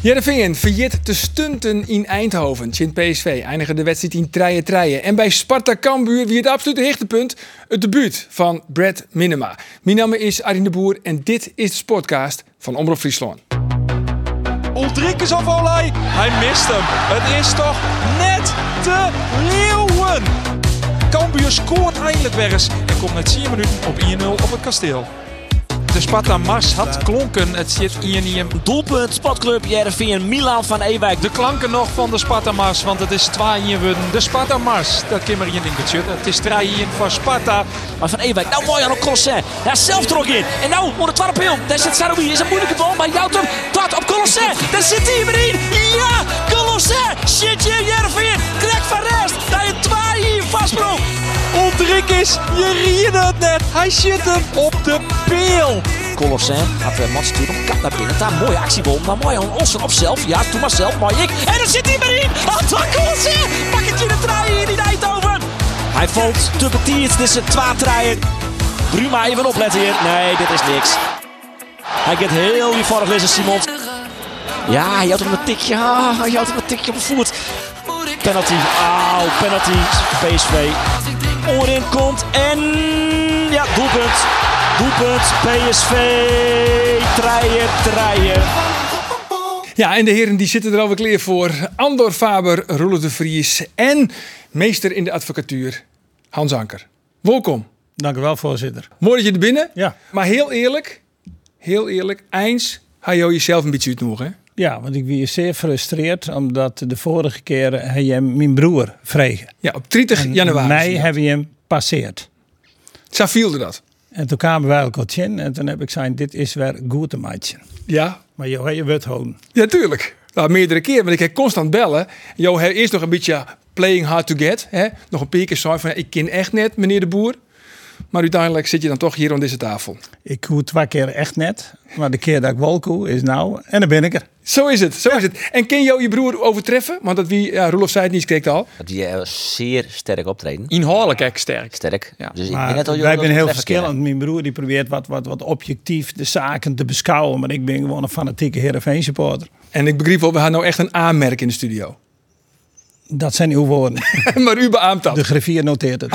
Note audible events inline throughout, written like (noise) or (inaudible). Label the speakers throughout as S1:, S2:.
S1: Jereveen verjit te stunten in Eindhoven. Tjint PSV eindigen de wedstrijd in treien treien. En bij Sparta Cambuur wie het absolute hoogtepunt het debuut van Brad Minema. Mijn naam is Arjen de Boer en dit is de Sportcast van Omroep Friesland.
S2: Ulrikus of Olij. Hij mist hem. Het is toch net te leeuwen. Cambuur scoort eindelijk weer eens. En komt met 4 minuten op 1-0 op het kasteel. De Sparta Mars had klonken. Het zit hier in
S3: Doelpunt, Spatclub, Jervin, Milan van Ewijk.
S2: De klanken nog van de Sparta Mars, want het is 2-1 worden. De Sparta Mars, dat kan maar in dingetje. Het is 3-1 voor Sparta.
S3: Maar van Ewijk, nou mooi aan de crossen. Daar zelf er ook in. En nou, onder het warme pil. Daar zit Sarouy. Is een moeilijke bal, maar jouwt hem. Tot op Colosse. Daar zit hij weer in. Ja, Colosse. Shit, Jervin. Krek van rest. Daar je 2 hier vastbroek.
S2: Ulrikus, je rierde het net. Hij zit hem op de peel.
S3: Colosse had uh, Mats toen op kat naar binnen. Daar mooie actiebal. Maar mooi aan Olsen op zelf. Ja, toen maar zelf, maar ik. En daar zit hij Oh, weer in. Anton Colosse. Pak het je de trein hier in Eindhoven. Hij valt te petit. Dit is een twaatraier. Bruma even opletten hier. Nee, dit is niks. Hij gaat heel eenvoudig lezen, Simons. Ja, hij houdt hem een tikje. Ah, hij houdt hem een tikje op de voet. Penalty. Auw, penalty. PSV. Oorin komt en... Ja, doelpunt. Doelpunt. PSV. Treien, treien.
S1: Ja, en de heren die zitten er alweer klaar voor. Andor Faber, Roelof de Vries en meester in de advocatuur Hans Anker. Welkom.
S4: Dank u wel, voorzitter.
S1: Mooi dat je er binnen.
S4: Ja.
S1: Maar heel eerlijk, heel eerlijk, eens ga je jezelf een beetje uitnoegen. hè?
S4: Ja, want ik was zeer gefrustreerd omdat de vorige keer hij hem mijn broer vregen.
S1: Ja, op 30 januari.
S4: Mij hebben je hem passeerd.
S1: Zo vielde dat.
S4: En toen kwamen wij elkaar in en toen heb ik gezegd, dit is weer goed matchen.
S1: Ja,
S4: Maar joh, je wordt gewoon.
S1: Ja, tuurlijk. Nou, meerdere keer, want ik heb constant bellen. Jo, hij is nog een beetje playing hard to get. Hè? Nog een paar keer zei van, ik ken echt net, meneer de Boer. Maar uiteindelijk zit je dan toch hier aan deze tafel.
S4: Ik koe twee keer echt net, maar de keer dat ik wel koe is nou, en dan ben ik er.
S1: Zo is het, zo is het. En ken jou je broer overtreffen? Want dat wie, ja, Roelof zei het niet, kreeg al.
S5: Dat die eh, zeer sterk optreden.
S2: Inhoudelijk echt sterk.
S5: Sterk. Dus ik
S4: Maar
S5: ben net al
S4: wij zijn heel verschillend. Mijn broer die probeert wat, wat, wat objectief de zaken te beschouwen, maar ik ben gewoon een fanatieke Heerenveen supporter.
S1: En ik begreep wel, we hadden nou echt een aanmerk in de studio. (laughs)
S4: Dat zijn uw woorden.
S1: maar u beaamt dat.
S4: De griffier noteert het.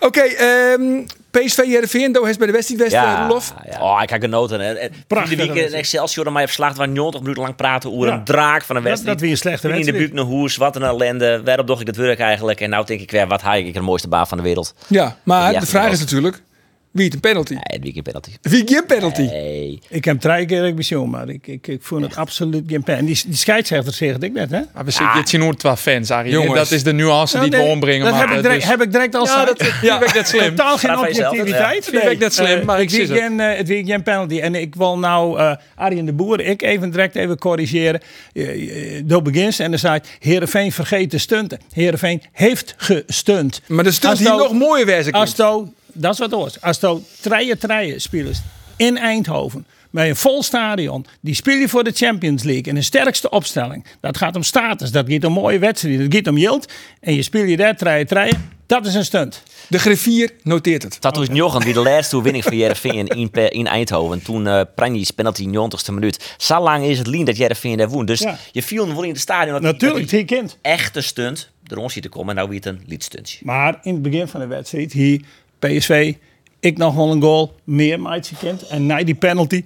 S1: Oké, ehm, PSV Heerenveen, Doe heeft bij de wedstrijd West, eh,
S5: Ja,
S1: Roelof.
S5: ja. Oh, ik heb genoten. hè. En
S4: Prachtig,
S5: De week
S4: dat
S5: in
S4: is.
S5: Excelsior dan mij op slacht waar 90 minuten lang praten over
S4: Ja.
S5: een draak van een
S4: Dat-
S5: wedstrijd.
S4: dat weer een slechte
S5: In de
S4: wedstrijd.
S5: buurt naar hoes, wat een ellende. Waarop docht ik het werk eigenlijk? En nou denk ik weer, wat haal ik de mooiste baan van de wereld?
S1: Ja, maar
S5: Ja,
S1: de vraag is
S5: Roelof.
S1: natuurlijk, wie het een penalty?
S5: Nee, Eh, het weekend penalty.
S1: Wie geen penalty?
S5: Nee.
S4: Ik heb drie keer ik bezien, maar ik, ik, ik voel het absoluut geen pijn. Die, die scheidsrechter zegt ik net, hè?
S6: Maar Ah, we zitten hier nooit twee fans, Arie.
S1: Jongens.
S6: En Dat is de nuance die we ombrengen.
S4: dat
S6: maar
S4: heb ik, direct, heb ik direct al
S6: Ja,
S4: gezegd.
S6: dat vind ik net slim.
S4: Totaal geen
S5: Praat van jezelf,
S4: objectiviteit.
S6: Vind ik net slim,
S4: Eh,
S6: maar ik
S4: het
S6: zie het.
S4: weekend, eh, Het weekend penalty. En ik wil nou eh Arjen de Boer, ik even direct even corrigeren. Eh, eh, Door begins en dan zei het, Heerenveen vergeet te stunten. Heerenveen heeft gestunt.
S1: Maar de stunt
S4: Als
S1: hier
S4: nou-
S1: nog mooier wijze.
S4: Als to, dat is wat hoort. Als to treien treien spelers in Eindhoven met een vol stadion, die spelen voor de Champions League in de sterkste opstelling. Dat gaat om status, dat gaat om mooie wedstrijden, dat gaat om yield. En je speelt je daar treien treien. Dat is een stunt.
S1: De griffier noteert het.
S5: Dat was Jochen die de laatste winning van Jereveen in, Pe- in Eindhoven. Toen eh Pranjis penalty 90ste minuut. Zo lang is het lien dat Jereveen daar woont. Dus
S4: Ja.
S5: je viel hem wel in het stadion. dat die-
S4: Natuurlijk,
S5: dat
S4: die kind.
S5: die Echte stunt. De rond ziet te komen en nou weer het een liedstuntje.
S4: Maar in het begin van de wedstrijd, hier PSV, ik nog wel een goal, meer maatje kind. En na die penalty.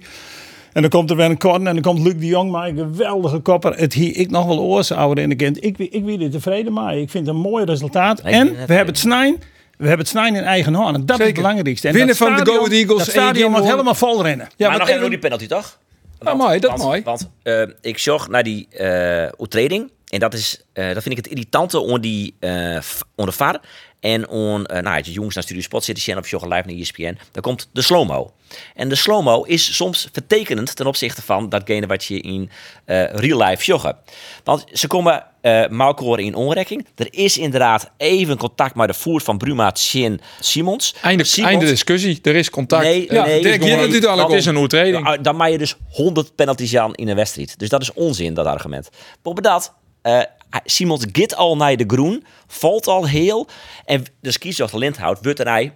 S4: En dan komt er weer een corner en dan komt Luc de Jong maar een geweldige kopper. Het hier ik nog wel oorzouder in de kind. Ik, wie- ik wie er tevreden mee. Ik vind het een mooi resultaat.
S5: ik
S4: en
S5: ben
S4: we
S5: net
S4: hebben het snijn. We hebben het snijn in eigen hand. En dat
S1: Zeker.
S4: is het belangrijkste. En
S1: Winnen
S4: dat
S1: van de
S4: stadion-
S1: Go Ahead Eagles,
S4: Dat
S1: één
S4: stadion moet
S1: keer
S4: helemaal vol rennen.
S1: Ja, want
S5: maar nog even
S1: even-
S5: die penalty, toch?
S1: Ah, mooi, dat
S5: want,
S1: mooi.
S5: Want eh, ik zocht naar die eh oetreding. en dat, is, eh, dat vind ik het irritante om die eh, v- om de VAR. En om, eh, nou, als je jongens naar Studio Sport zitten, zien of E je live naar ESPN, dan komt de slow-mo. En de slow-mo is soms vertekenend ten opzichte van datgene wat je in eh, real life joggen. Want ze komen eh Malkoren in onrekking. Er is inderdaad even contact met de voer van Bruma Chin Simons.
S6: Einde,
S5: Simons-
S6: einde discussie. Er is contact.
S5: Nee,
S6: Eh,
S5: nee,
S6: het is
S5: Dirk,
S6: gewoon-
S5: je doet
S1: dit al
S6: dat
S1: ook
S6: is een oortreding.
S5: Ja, Dan maak je dus 100 penalties aan in een wedstrijd. Dus dat is onzin, dat argument. Boven dat, eh Simons git al naar de groen, valt al heel. En dus kies als Lindhout, wordt er hij.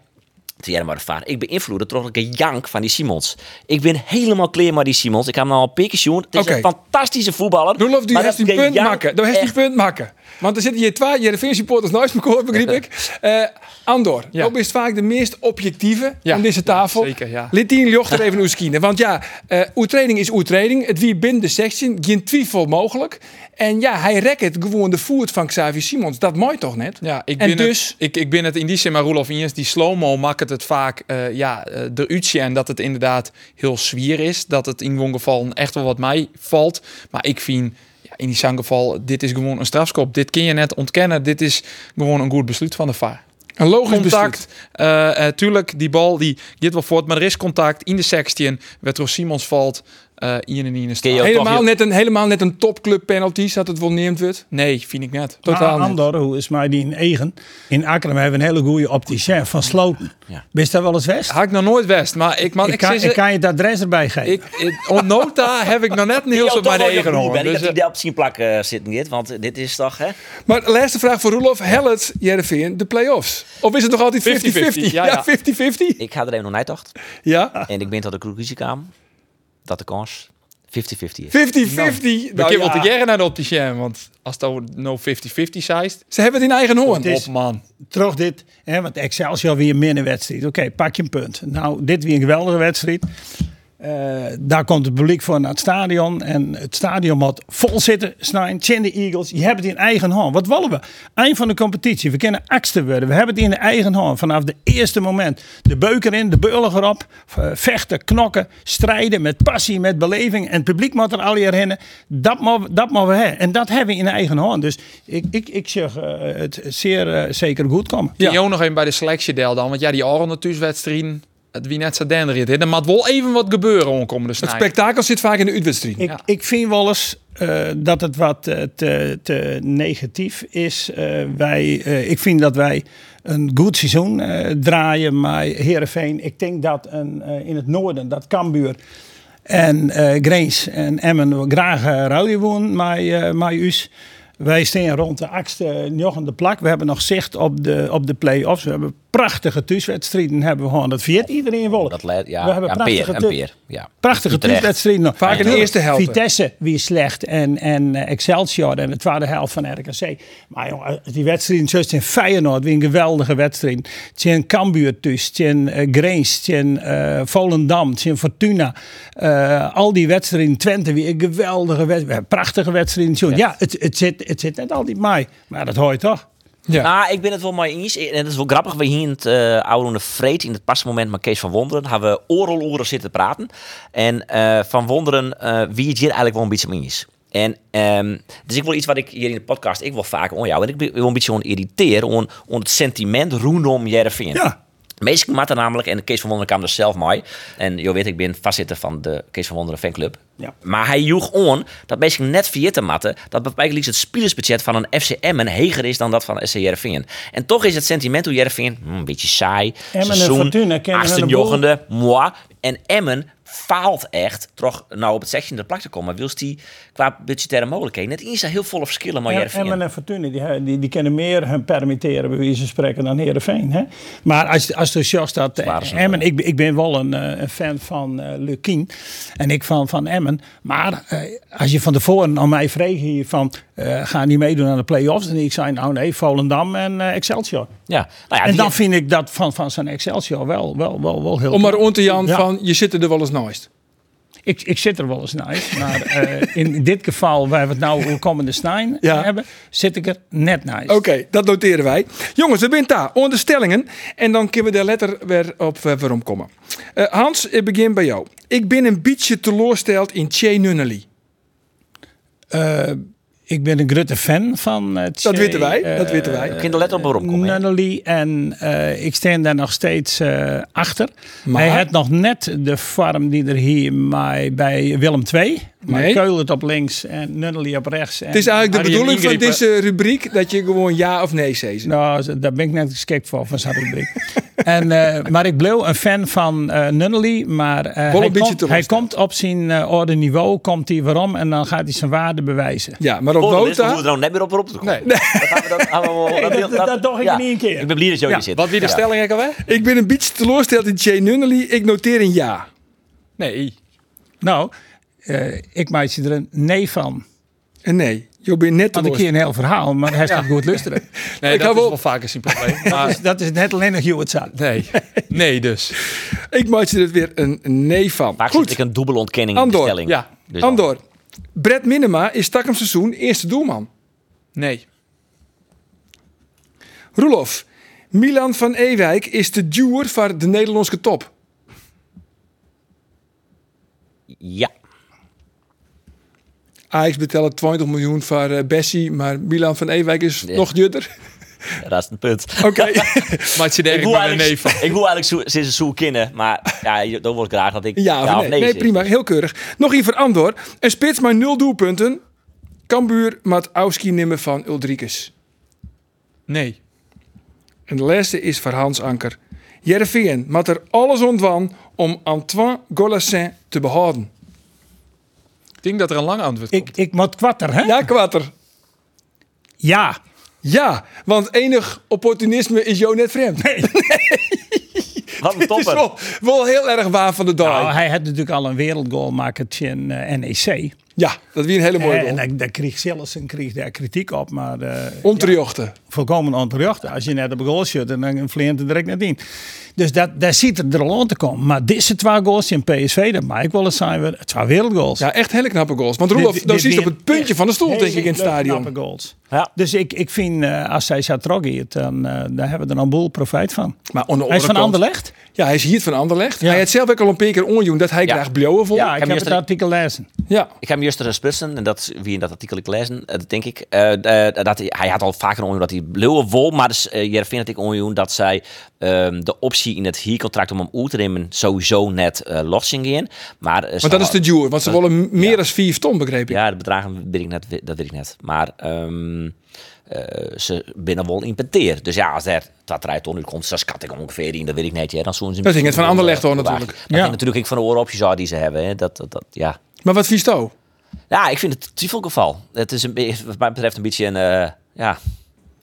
S5: Te jaren maar de vaar. Ik beïnvloed het trotselijke jank van die Simons. Ik ben helemaal clear met die Simons. Ik heb hem al een pikje zien. Het is
S1: Oké.
S5: een fantastische voetballer.
S1: Roelof, die
S5: maar
S1: heeft
S5: dat
S1: een punt
S5: gejank
S1: maken. Dat heeft een
S5: echt-
S1: punt maken. Want er zitten hier twee Jereveen supporters nooit meer koor, begreep ik. Eh, Andor,
S6: Ja.
S1: ook is vaak de meest objectieve
S6: Ja,
S1: aan deze tafel.
S6: ja, zeker, ja.
S1: Liet die jochter even oeskine. Want ja, eh oertreding is oertreding. Het wie binnen de section, geen twijfel mogelijk. En ja, hij rekt het gewoon de voert van Xavier Simons. Dat mooi toch net?
S6: Ja, ik
S1: En
S6: ben,
S1: dus-
S6: het, ik, ik ben het in die zin, maar Roelof Injes, die slow-mo maakt het, het vaak eh ja, eh, eruit zien en dat het inderdaad heel zwier is. Dat het in gewoon geval echt wel wat mij valt. Maar ik vind ja, in die zijn geval, dit is gewoon een strafskop. Dit kun je net ontkennen. Dit is gewoon een goed besluit van de VAR.
S1: Een logisch
S6: Contact, eh, eh, tuurlijk, die bal die gaat wel voort, maar er is contact in de section. Wetro Simons valt, eh hier en hier
S5: Ken je
S6: in
S5: ook-
S6: de
S1: Helemaal
S5: toch,
S1: net, een, helemaal net een topclub penalty, dat het wel neemt wordt.
S6: Nee, vind ik net.
S1: Totaal
S5: Nou,
S4: Maar
S1: niet.
S4: Ah, Andor, hoe is mij die in Egen? In Akkerum hebben we een hele goede opticien van Sloten.
S5: Ja.
S4: Wist daar wel eens
S1: Ah,
S4: west?
S6: Haak nou nooit west, maar ik, man,
S4: ik,
S6: ik,
S4: kan,
S6: zit-
S4: ik kan je het adres erbij geven.
S6: Ik, ik, op nota heb ik nog net een heel
S5: Ken je
S6: soort
S5: toch
S6: bij de
S5: wel
S6: eigen
S5: dat
S6: hoor.
S5: ik ben. Ik heb
S6: Dus,
S5: die
S6: eh,
S5: daar op zien plak eh, zitten dit, want dit is toch... Hè?
S1: Maar de laatste vraag voor Roelof. Helpt Jereveen de play-offs? Of is het nog altijd 50-50?
S6: 50-50, ja,
S1: Ja,
S6: ja.
S1: 50-50.
S5: Ik ga er even nog naar tocht.
S1: Ja.
S5: En ik ben tot de conclusie kwam dat de kans 50-50 is.
S1: 50-50.
S6: We
S1: Nou,
S6: kunnen wel
S1: ja.
S6: te jaren naar de opticien, want als dat no 50-50 zeist,
S1: Ze hebben het in eigen hoorn.
S4: Het is-
S6: op man.
S4: Terug dit, hè, want Excelsior weer meer een wedstrijd. Oké, pak je een punt. Nou, dit weer een geweldige wedstrijd. Eh, daar komt het publiek voor naar het stadion. En het stadion moet vol zitten. Snijden, chin de Eagles. Je hebt het in eigen hand. Wat willen we? Eind van de competitie. We kunnen achtste worden. We hebben het in de eigen hand. Vanaf de eerste moment. De beuker in, de burger op. Eh, Vechten, knokken, strijden met passie, met beleving. En het publiek moet er al hier rennen. Dat moeten dat moet we hebben. En dat hebben we in eigen hand. Dus ik, ik, ik zeg eh, het zeer eh, zeker goed komen.
S6: Ja. ook nog even bij de selectiedel dan, want ja, die Aron thuiswedstrijden, het wie net zo dender is, hè. Er moet wel even wat gebeuren omkomende
S1: Het
S6: snij.
S1: spektakel zit vaak in de uitwedstrijd.
S4: Ik,
S6: Ja.
S4: ik vind wel eens eh, dat het wat eh, te, te negatief is. Eh, wij, eh, ik vind dat wij een goed seizoen eh, draaien. Maar Herenveen, ik denk dat een, eh, in het noorden, dat Cambuur en eh Grains en Emmen graag uh, ruilen wonen maar eh, maar us. Wij staan rond de achtste de plak. We hebben nog zicht op de, op de play-offs. We hebben prachtige thuiswedstrijden. Hebben we gewoon. Dat viert iedereen wel.
S5: Dat leidt, ja,
S4: We hebben
S5: ja, een
S4: prachtige
S5: peer, een
S4: tu-
S5: peer. Ja.
S4: Prachtige
S5: Utrecht.
S4: thuiswedstrijden. nog.
S1: Vaak in de
S4: Ja.
S1: eerste helft.
S4: Vitesse wie is slecht en, en eh, Excelsior en de tweede helft van RKC. Maar jongen, eh, die wedstrijd zoals in Feyenoord, weer een geweldige wedstrijd. Tegen Cambuur dus, tegen uh, Grains, tegen eh, Volendam, tegen Fortuna. Eh, al die wedstrijden, Twente weer een geweldige wedstrijd. Prachtige wedstrijden. jongen. Ja, het, het, zit, het zit net altijd mij. Maar dat hoor je toch?
S1: Ja.
S5: Nou, ik ben het wel mee eens. En het is wel grappig. We hier in het eh oude de vreet in het passe moment met Kees van Wonderen. Hebben we oreloeren zitten praten. En eh, van Wonderen eh, wie het hier eigenlijk wel een beetje mee eens. En ehm, dus ik wil iets wat ik hier in de podcast ik wil vaker om jou. En ik ben- wil een beetje on irriteren. On, on het sentiment rondom Jervin.
S4: Ja.
S5: Meestal matten namelijk, en Kees van Wonderen kwam er zelf mee. En je weet, ik ben vastzitter van de Kees van Wonderen fanclub.
S4: Ja.
S5: Maar hij joeg on dat meestal net via te matten... dat bijvoorbeeld het spelersbudget van een FCM en heger is dan dat van SC Jervingen. En toch is het sentiment hoe Jervingen, hm, een beetje saai.
S4: en Fortuna kennen
S5: Asten
S4: hun een boel.
S5: jochende, moi. En Emmen faalt echt, toch nou op het section de plak te komen. Wilst die qua budgettaire mogelijkheden net eens heel vol verschillen met
S4: En
S5: Jervingen.
S4: Emmen en Fortuna, die, die, die kunnen meer hun permitteren bij wijze van spreken dan Heerenveen. Hè? Maar als, als de Sjoerd dat eh,
S5: Waren ze nog
S4: Emmen, ik, ben- ik ben wel een, eh, een fan van eh Lukien en ik van, van Emmen. Maar eh, als je van tevoren aan mij vreeg hier van, eh, gaan die meedoen aan de play-offs? En ik zei, nou nee, Volendam en eh, Excelsior.
S5: Ja, nou ja,
S4: en
S5: die-
S4: dan vind ik dat van, van zijn Excelsior wel, wel, wel, wel heel
S1: Om maar on te Jan
S4: Ja.
S1: van je zit er wel eens naast.
S4: ik, ik zit er wel eens naast, maar eh, in dit geval waar we het nou over komende snijn
S1: Ja.
S4: hebben, zit ik er net naast.
S1: Oké, dat noteren wij. Jongens, we zijn daar. Onderstellingen. En dan kunnen we daar letter weer op eh, weer omkomen. Eh, Hans, ik begin bij jou. Ik ben een beetje teleurgesteld in Che Nunnally.
S4: Eh, Ik ben een grote fan van het.
S1: Dat weten wij,
S6: eh,
S1: dat weten wij.
S5: Kinderlet op waarom kom hè?
S4: Nunnally en eh, ik sta daar nog steeds eh, achter.
S1: Maar?
S4: Hij had nog net de farm die er hier maar bij Willem II. Maar
S1: Nee.
S4: Keulen op links en Nunnally op rechts.
S1: Het is eigenlijk de
S6: Arjen
S1: bedoeling van
S6: Ingrepen.
S1: deze rubriek dat je gewoon ja of nee zegt.
S4: Nou, z- daar ben ik net geschikt voor, van zo'n rubriek. (laughs) en, eh, maar ik bleef een fan van eh Nunnally. Maar eh,
S1: een
S4: hij,
S1: beetje
S4: komt, hij
S1: teleurgesteld.
S4: komt op zijn eh, orde niveau, komt hij waarom en dan gaat hij zijn waarde bewijzen.
S1: Ja, maar op
S5: Volgende is, we
S1: Wota...
S5: moeten er nou net meer op op te komen.
S6: Nee.
S5: Dat gaan we- dat gaan we wel- dat-
S4: dat- dat dacht ik
S5: ja.
S4: niet een keer.
S5: Ik ben blij dat jullie
S4: Ja,
S5: zitten.
S6: Wat wie de
S5: Ja.
S6: stelling ik alweer?
S1: Ik ben een beetje teleurgesteld in Jay Nunnally. Ik noteer een ja.
S6: Nee.
S4: Nou, eh, ik maak je er een nee van.
S1: En Eh, nee, je bent net
S4: Want ik keer
S1: teleurgesteld.
S4: een heel verhaal, maar hij staat
S1: (laughs)
S4: goed luisteren.
S6: Nee,
S1: Ik
S6: dat
S1: hou
S6: is
S1: wel-
S6: wel vaker zijn probleem. (laughs) Maar
S4: Dus dat is net alleen nog Hewitt Sun.
S6: nee. Nee dus.
S1: Ik maak je er weer een nee van.
S5: Vaak zit
S1: Goed,
S5: ik een dubbele ontkenning in
S1: Andor,
S5: de stelling.
S6: ja.
S5: Dus dan-
S1: Andor. Brett Minema is Takkum seizoen eerste doelman.
S6: Nee.
S1: Roelof. Milan van Ewijk is de duwer van de Nederlandse top.
S5: Ja.
S1: Ajax betelt 20 miljoen voor eh, Bessie, maar Milan van Ewijk is
S5: Ja.
S1: nog
S5: (laughs)
S1: jutter.
S5: Ja, dat is het punt.
S1: Oké.
S6: Maar je
S5: Ik
S6: denkt
S5: wil
S6: maar een nee
S5: eigenlijk,
S6: van.
S5: ik wil eigenlijk zo- sinds een zoe kennen, maar ja, dan wordt graag dat ik
S1: Ja, of nee. nee,
S5: zeg.
S1: prima. Heel keurig. Nog even Andor. Een spits maar nul doelpunten. Kambuur Mat Auski nemen van Ulrikes.
S6: (laughs) Nee.
S1: En de laatste is voor Hans Anker. Jervin mat er alles ontwan om Antoine Golassin te behouden.
S6: Ik denk dat er een lang antwoord
S4: Ik, ik moet kwatter, hè?
S1: Ja, kwater.
S4: Ja.
S1: Ja, want enig opportunisme is jou net
S4: (laughs)
S1: vreemd.
S5: Wat
S1: Het
S5: een
S1: is
S5: topper.
S1: wel, wel heel erg waar van de dag.
S4: Nou, hij had natuurlijk al een wereldgoal maken in eh, NEC.
S1: ja, dat wie een hele mooie
S4: Eh,
S1: goal.
S4: en daar, daar kreeg zelfs een kreeg daar kritiek op, maar eh,
S1: Onterjochten.
S4: volkomen onterecht. Als je net op een goal schiet, en dan vliegt het direct nadien. Dus dat, daar ziet het er al aan te komen. Maar deze twee goals in PSV, dat maakt wel eens zijn we twee wereldgoals.
S1: Ja, echt hele knappe goals. Want Roelof,
S4: Dit-
S1: nou
S4: dit
S1: zit op
S4: weer
S1: het puntje
S4: echt
S1: van de stoel, denk ik,
S4: hele
S1: in het stadion.
S4: knappe goals.
S5: Ja.
S4: Dus ik, ik vind, eh, als hij Satrogi het, dan eh, daar hebben we er een boel profijt van.
S1: Maar aan de
S4: Hij is van
S1: andere kant-
S4: Anderlecht.
S1: Ja, hij is hier van Anderlecht.
S4: Ja.
S1: Hij had zelf ook al een paar keer onjoen dat hij
S5: Ja.
S1: graag blauwe vond.
S4: Ja,
S1: Ja.
S4: ik heb het
S5: gisteren-
S4: artikel lezen.
S5: Ik heb hem juist eens splitsen, en dat is wie in dat artikel ik lezen, eh, dat denk ik. eh, eh, dat hij, hij had al vaker onjoen dat hij blauwe wol, maar dus, eh, Jervin had ik onjoen dat zij ehm, de optie in het huurcontract om hem oer te nemen sowieso net eh lossing in. Maar, eh,
S1: Want dat is de duur. Want ze
S5: dat-
S1: willen meer dan 4 ton, begreep ik.
S5: Ja, de bedragen weet ik net, dat weet ik net. Maar ehm, eh, ze binnen wel in penteer. Dus ja, als er dat rijdt onder komt, dan schat ik ongeveer in. Dat weet ik net. Ja, dan zoen ze
S1: Dat ging het van Anderlecht hoor, natuurlijk.
S5: Dat
S4: Ja.
S5: ging natuurlijk ik van de ooropjes uit die ze hebben. Hè. Dat, dat, dat, ja.
S1: Maar wat vies toe?
S5: ja, ik vind het een twijfelgeval. Het is een beetje, wat mij betreft een beetje een... eh, ja,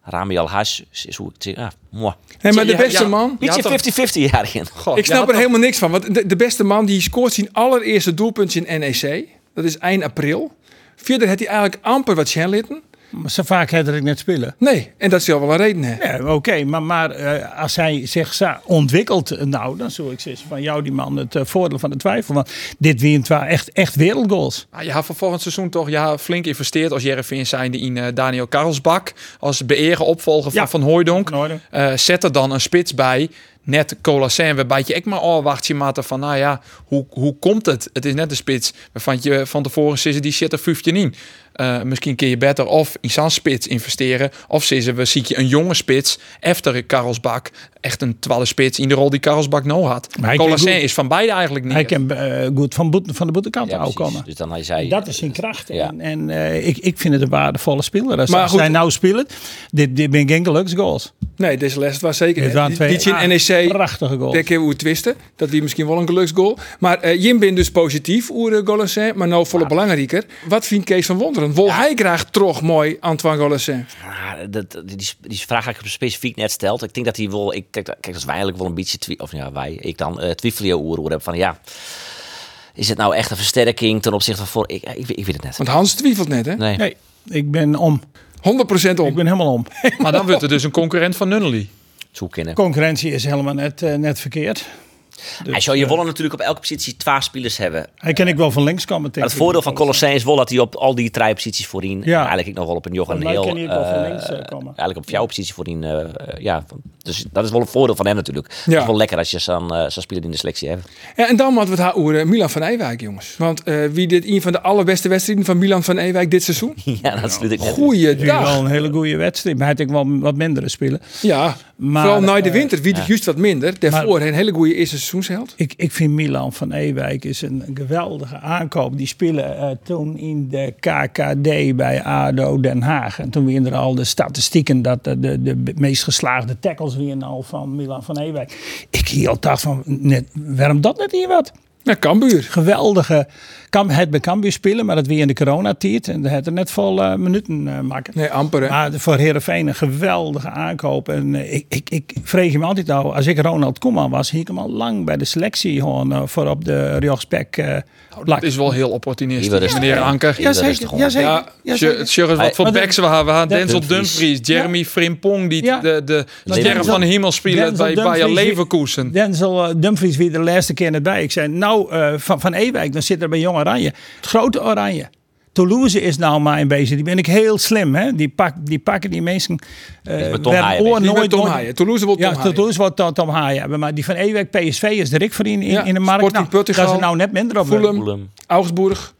S5: Rami al Hash is hoe ik zeg. Ja, mooi.
S1: Nee, maar de
S6: Ja,
S1: beste
S6: ja.
S1: man...
S6: Je had hem-
S5: Beetje 50-50 jarigen.
S6: God,
S1: Ik
S6: je had
S1: snap er
S6: hem-
S1: helemaal niks van. Want de, de beste man die scoort zijn allereerste doelpunt in NEC. Dat is eind april. Verder had hij eigenlijk amper wat Shenlitten.
S4: Maar zo vaak had ik net spelen.
S1: Nee, en dat zal wel een reden hebben.
S4: Ja, oké, maar, maar eh, als hij zich za- ontwikkelt, eh, nou, dan zou ik zeggen van jou die man het eh, voordeel van de twijfel. Want dit wien twa echt, echt wereldgoals.
S6: Maar Ah, je had voor volgend seizoen toch ja, flink investeerd als Jereveen zijnde in eh, Daniel Karlsbak. Als beëren opvolger van
S4: Ja.
S6: Van Hooijdonk.
S4: Van Hooijdonk.
S6: Eh, zet er dan een spits bij. Net Colasin, waarbij je echt maar al wacht je maat van, nou ja, hoe, hoe komt het? Het is net een spits waarvan je van tevoren zitten die zit er 15 in. Eh, misschien kun je beter of in zo'n spits investeren. Of zitten we zie je een jonge spits, efter Karlsbak. Echt een twaalf spits in de rol die Karlsbak nou had.
S4: Maar hij kan
S6: Colasin
S4: goed-
S6: is van beide eigenlijk niet.
S4: Hij kan eh, goed van, boete- van de boetekant
S5: Ja,
S1: Nou,
S4: ja,
S5: precies.
S4: komen.
S5: Dus dan hij zei...
S4: Dat is zijn kracht.
S5: Ja.
S4: En, en eh, ik, ik vind het een waardevolle speler. Als,
S1: Maar
S4: als
S1: goed.
S4: hij nou speelt, dit, dit ben geen geluksgoals.
S1: Nee, deze les was zeker.
S4: Dit
S1: Eh,
S4: waren
S1: Die- E
S4: twee Ah,
S1: Die in NEC.
S4: Prachtige goals.
S1: Daar kunnen we hoe twisten. Dat wie misschien wel een geluksgoal. Maar eh, Jim bin dus positief over uh, Maar nou volle belangrijker. Wat vindt Kees van Wonderen? Wil hij graag toch mooi Antoine Golassin?
S5: Ja, Ah, dat, dat- die, die vraag heb ik specifiek net stelt. Ik denk dat hij wel. Ik, kijk, dat- kijk, dat is wij eigenlijk wel een beetje. twi- Of ja, wij. Ik dan uh, twijfelen over hebben van ja. Is het nou echt een versterking ten opzichte van voor? Ik, ik, weet- ik weet het net.
S1: Want Hans twijfelt net, hè?
S5: Nee.
S4: Nee, ik ben om.
S1: 100%
S4: Ik
S1: om.
S4: ben helemaal
S1: (laughs)
S4: om.
S6: Maar dan wordt er dus een concurrent van Nunnely.
S5: Zoek in. hè.
S4: Concurrentie is helemaal net, eh, net verkeerd.
S5: hij zou je Wolle natuurlijk op elke positie twee spelers hebben.
S4: Hij ken ik wel van links komen
S5: Maar
S4: tegen.
S5: het voordeel van Colosseum is wel dat hij op al die drie posities voorin... en Eigenlijk ik nog wel op een Johan
S4: Van mij
S5: Heel...
S4: ken hij ook wel van
S5: eh,
S4: links, eh, komen.
S5: Eigenlijk op jouw positie voorin. eh, eh, ja, van- dus dat is wel een voordeel van hem natuurlijk. Het
S1: Ja.
S5: is wel lekker als je zo'n eh, zo'n speler in de selectie hebt. (laughs)
S1: Ja, en dan moeten we het haar oeren, Milan van Ewijk, jongens. Want eh, wie dit een van de allerbeste wedstrijden van Milan van Ewijk dit seizoen?
S4: (laughs)
S5: ja, dat sluit ik net.
S4: Ja. Wel
S1: Goeiedag.
S4: een hele goede wedstrijd. Maar hij had ook wel wat mindere spelen.
S1: Ja,
S4: Maar,
S1: vooral na de
S4: eh,
S1: winter, wie het juist wat minder. Daarvoor een hele goede eerste seizoensheld.
S4: Ik, ik vind Milan van Ewijk is een geweldige aankoop. Die spelen eh, toen in de KKD bij ADO Den Haag. En toen weer al de statistieken dat de, de, de meest geslaagde tackles weer al van Milan van Ewijk. Ik hier al dacht van, net, waarom dat net hier wat?
S1: Ja, Kambuur.
S4: Geweldige, kan, het bij Cambuur spelen, maar dat weer in de coronatiert. En dat had er net vol eh, minuten eh maken.
S1: Nee, amper. hè.
S4: Maar voor Herenveen een geweldige aankoop. En eh, ik, ik, ik vreeg hem altijd al, als ik Ronald Koeman was, hier ik hem al lang bij de selectie gewoon eh, voor op de rechtsback
S5: Nou,
S4: eh plak.
S6: Het is wel heel
S5: Die
S6: opportunistisch,
S5: wil rustig
S6: meneer
S5: houden.
S6: Anker.
S5: Die
S6: Ja,
S5: wil
S4: Ja, zeker.
S5: rustig
S4: Ja,
S5: houden.
S4: zeker. Ja,
S6: Sure,
S4: zeker.
S6: sure, wat voor
S4: Maar de-
S6: backs we hadden. We hadden Denzel
S5: Dumfries.
S6: Dumfries, Jeremy Frimpong, die
S4: Ja.
S6: de, de
S5: Denzel-
S6: sterren van de hemel spelen
S4: Denzel
S6: bij Bayer
S4: Dumfries-
S6: Leverkusen.
S4: Denzel eh, Dumfries weer de laatste keer net bij. Ik zei, nou, eh, van, van Ewijk, dan zit er bij Jong Oranje. Het grote Oranje. Toulouse is nou maar een bezig. Die ben ik heel slim. Hè? Die, pak, die pakken die mensen. eh,
S5: Is met Tom
S4: werden
S5: Haaien
S4: oor
S5: bezig.
S1: Die wil
S4: nooit-
S1: Tom
S4: nooit-
S1: Haaien. Toulouse wil Tom
S4: Ja,
S1: Haaien.
S4: Toulouse wordt eh, Tom, Tom Haaien hebben. Maar die van Ewijk, PSV is de Rick voor in, in,
S1: Ja,
S4: in de markt.
S1: Sporting
S4: Nou,
S1: Portugal,
S4: daar is er nou net minder op.
S1: Fulham.
S5: Fulham.
S1: Augsburg.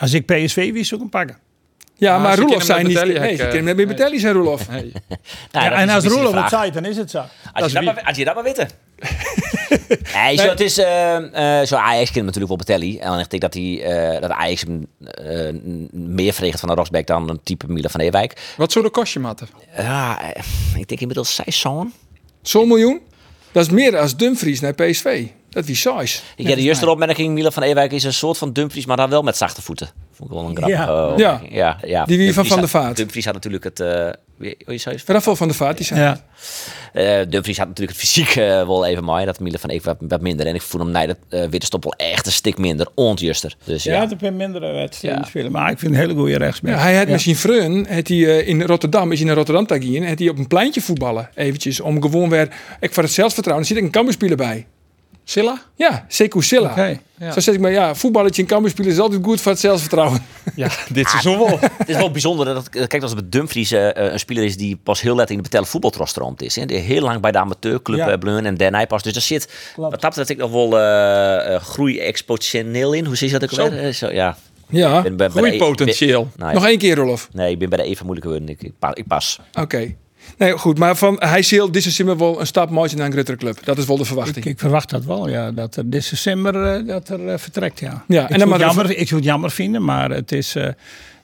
S4: Als ik PSV wie zou ik hem pakken.
S1: Ja,
S6: Maar
S1: maar
S6: ze
S1: Roelof
S6: kennen
S1: zijn
S6: hem
S1: niet...
S6: met
S1: Nee, ze
S6: Betelli, ik, eh,
S1: kennen hem net meer Betelli zijn, Roelof.
S5: Nou,
S4: Ja, en
S5: dat is
S4: als
S5: een beetje de
S4: Roelof op
S5: vraag.
S4: tijd, dan is het zo.
S5: Als je, dat maar, als je dat maar weten. nee, zo, het is, eh, eh, zo Ajax kent natuurlijk wel Batelli. En dan dacht ik dat, die, eh, dat Ajax hem eh, n- meer verregelt van een Rosbeck dan een type Miele van Ewijk.
S6: Wat zou de kostje matten?
S5: Ja, eh, ik denk inmiddels zij zo'n.
S1: Zo'n miljoen? Dat is meer dan Dumfries naar PSV. Dat wie size.
S5: Ik heb de juiste opmerking, Miele van Ewijk is een soort van Dumfries, maar dan wel met zachte voeten. Vond ik wel een grap.
S4: Ja.
S5: ja. ja, ja.
S1: Die wie van Van
S5: Dumfries
S1: der
S5: had-
S1: Vaart.
S5: Dumfries had natuurlijk het... eh, wie- hoe je zei-
S1: Rafael van der Vaart, die zijn.
S4: Ja.
S5: Eh, Dumfries had natuurlijk het fysiek eh, wel even mooi. Dat Miele van Eek wat, wat minder. En ik voel hem, nee, dat eh witte stop wel echt een stuk minder. Ontjuster. Dus ja.
S4: Ja, het een mindere eh, wedstrijden
S5: Ja.
S4: spelen. Maar ik vind een hele goede rechtsback.
S1: Ja, hij had misschien Freun, had hij, eh, in Rotterdam, is hij naar Rotterdam tagien, had hij op een pleintje voetballen, eventjes, om gewoon weer, ik voor het zelfvertrouwen, er zit een kamberspeler bij.
S6: Silla?
S1: Ja, Sekou Silla.
S4: Oké.
S6: Ja.
S1: Zo zeg ik maar, ja, voetballetje en kamberspeler is altijd goed voor het zelfvertrouwen. (laughs)
S6: Ja, dit seizoen wel.
S5: Het is wel bijzonder dat, kijk, dat als het met Dumfries eh, eh, een speler is die pas heel laat in de betelde voetbaltros stroomt is. Hè, die heel lang bij de amateurclub
S4: Ja.
S5: eh Bleun en Den pas. Dus daar zit, wat dat betreft, ik nog wel eh, eh, groei exponentieel in. Hoe zie je dat ook
S6: Zo.
S5: alweer? Eh, Zo. ja.
S1: Ja,
S5: Ik ben- ben bij de-
S6: Groeipotentieel.
S5: Nou, ja.
S1: nog één keer Rolof.
S5: Nee, ik ben bij de even moeilijke woorden. Ik, ik, pa- ik pas.
S1: Oké. Nee, goed, maar van, hij zil, dit is simpel wel een stap moois naar een Grutter Club. Dat is wel de verwachting.
S4: Ik, ik verwacht dat wel, ja. Dat er dit december eh, dat er, eh, vertrekt, ja.
S1: Ja,
S4: ik,
S1: en dan
S4: zou
S1: maar
S4: het
S1: de-
S4: jammer, ik zou het jammer vinden, maar het, is, eh,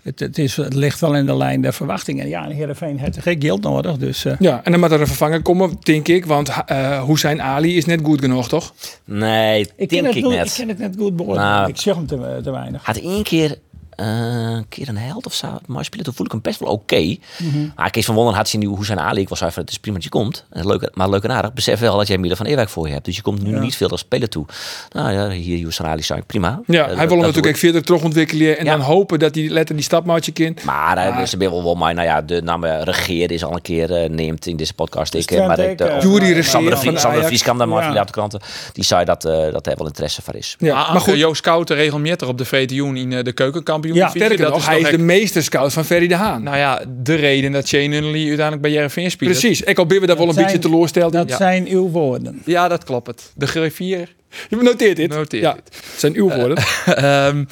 S4: het, het, is, het ligt wel in de lijn der verwachtingen. En ja, en Heerenveen heeft geen geld nodig, dus... eh,
S1: ja, en dan moet er een vervanger komen, denk ik, want eh Hussein Ali is net goed genoeg, toch?
S5: Nee,
S4: ik ken,
S5: denk
S4: het
S5: ik
S4: goed-
S5: net.
S4: ik ken het net goed beoordelen.
S5: Nou.
S4: Ik zeg hem te, te weinig.
S5: Had één keer, eh, een keer een held of zo. Maar spelen, toen voel ik hem best wel oké.
S1: Mhm.
S5: Maar Kees van Wonderen had zien hoe zijn Ali. Ik was even, het is prima dat je komt. En Leuk, maar leuk en aardig. Besef wel dat jij Miele van Ewijk voor je hebt. Dus je komt nu niet veel als speler toe. Nou ja, hier Hoesan Ali zou ik prima.
S1: Ja, hij
S5: Eh, dat-
S1: wil hem
S5: dat
S1: natuurlijk
S5: doe
S1: ook verder terug ontwikkelen en
S5: Ja.
S1: dan hopen dat hij letter die stapmaatje kind.
S5: ik. Maar eh, dus, ze ben wel wel maar, nou ja, de naam eh, regeer is al een keer eh, neemt in deze podcast. Ik, eh,
S4: Trent
S5: maar
S4: ook,
S5: ik, de,
S4: eh,
S1: Jury
S4: maar-
S1: regeert
S5: Sander de
S1: van
S5: Vries, Sander
S1: Ajax.
S5: de Vries kan daar maar
S4: Ja.
S5: van de kranten. Die zei dat, eh, dat hij wel interesse van is.
S1: Ja, maar goed,
S6: Joost Kouter regelmatig op de VTU in eh, de keukenkampioen.
S4: Ja,
S6: divisie.
S1: sterker
S6: dat
S1: nog, hij is
S6: echt-
S1: de meesterscout van Ferry de Haan.
S6: Nou ja, de reden dat Shane Nunnally uiteindelijk bij JRV speelt.
S1: Precies, ik al ben we daar wel een
S4: zijn- Nou,
S1: beetje teleursteld. in.
S4: Dat zijn uw woorden.
S6: Ja, dat klopt het. De griffier. (laughs)
S1: Je noteert dit.
S6: Noteer
S1: ja,
S6: dit.
S1: het zijn uw woorden.
S6: Ehm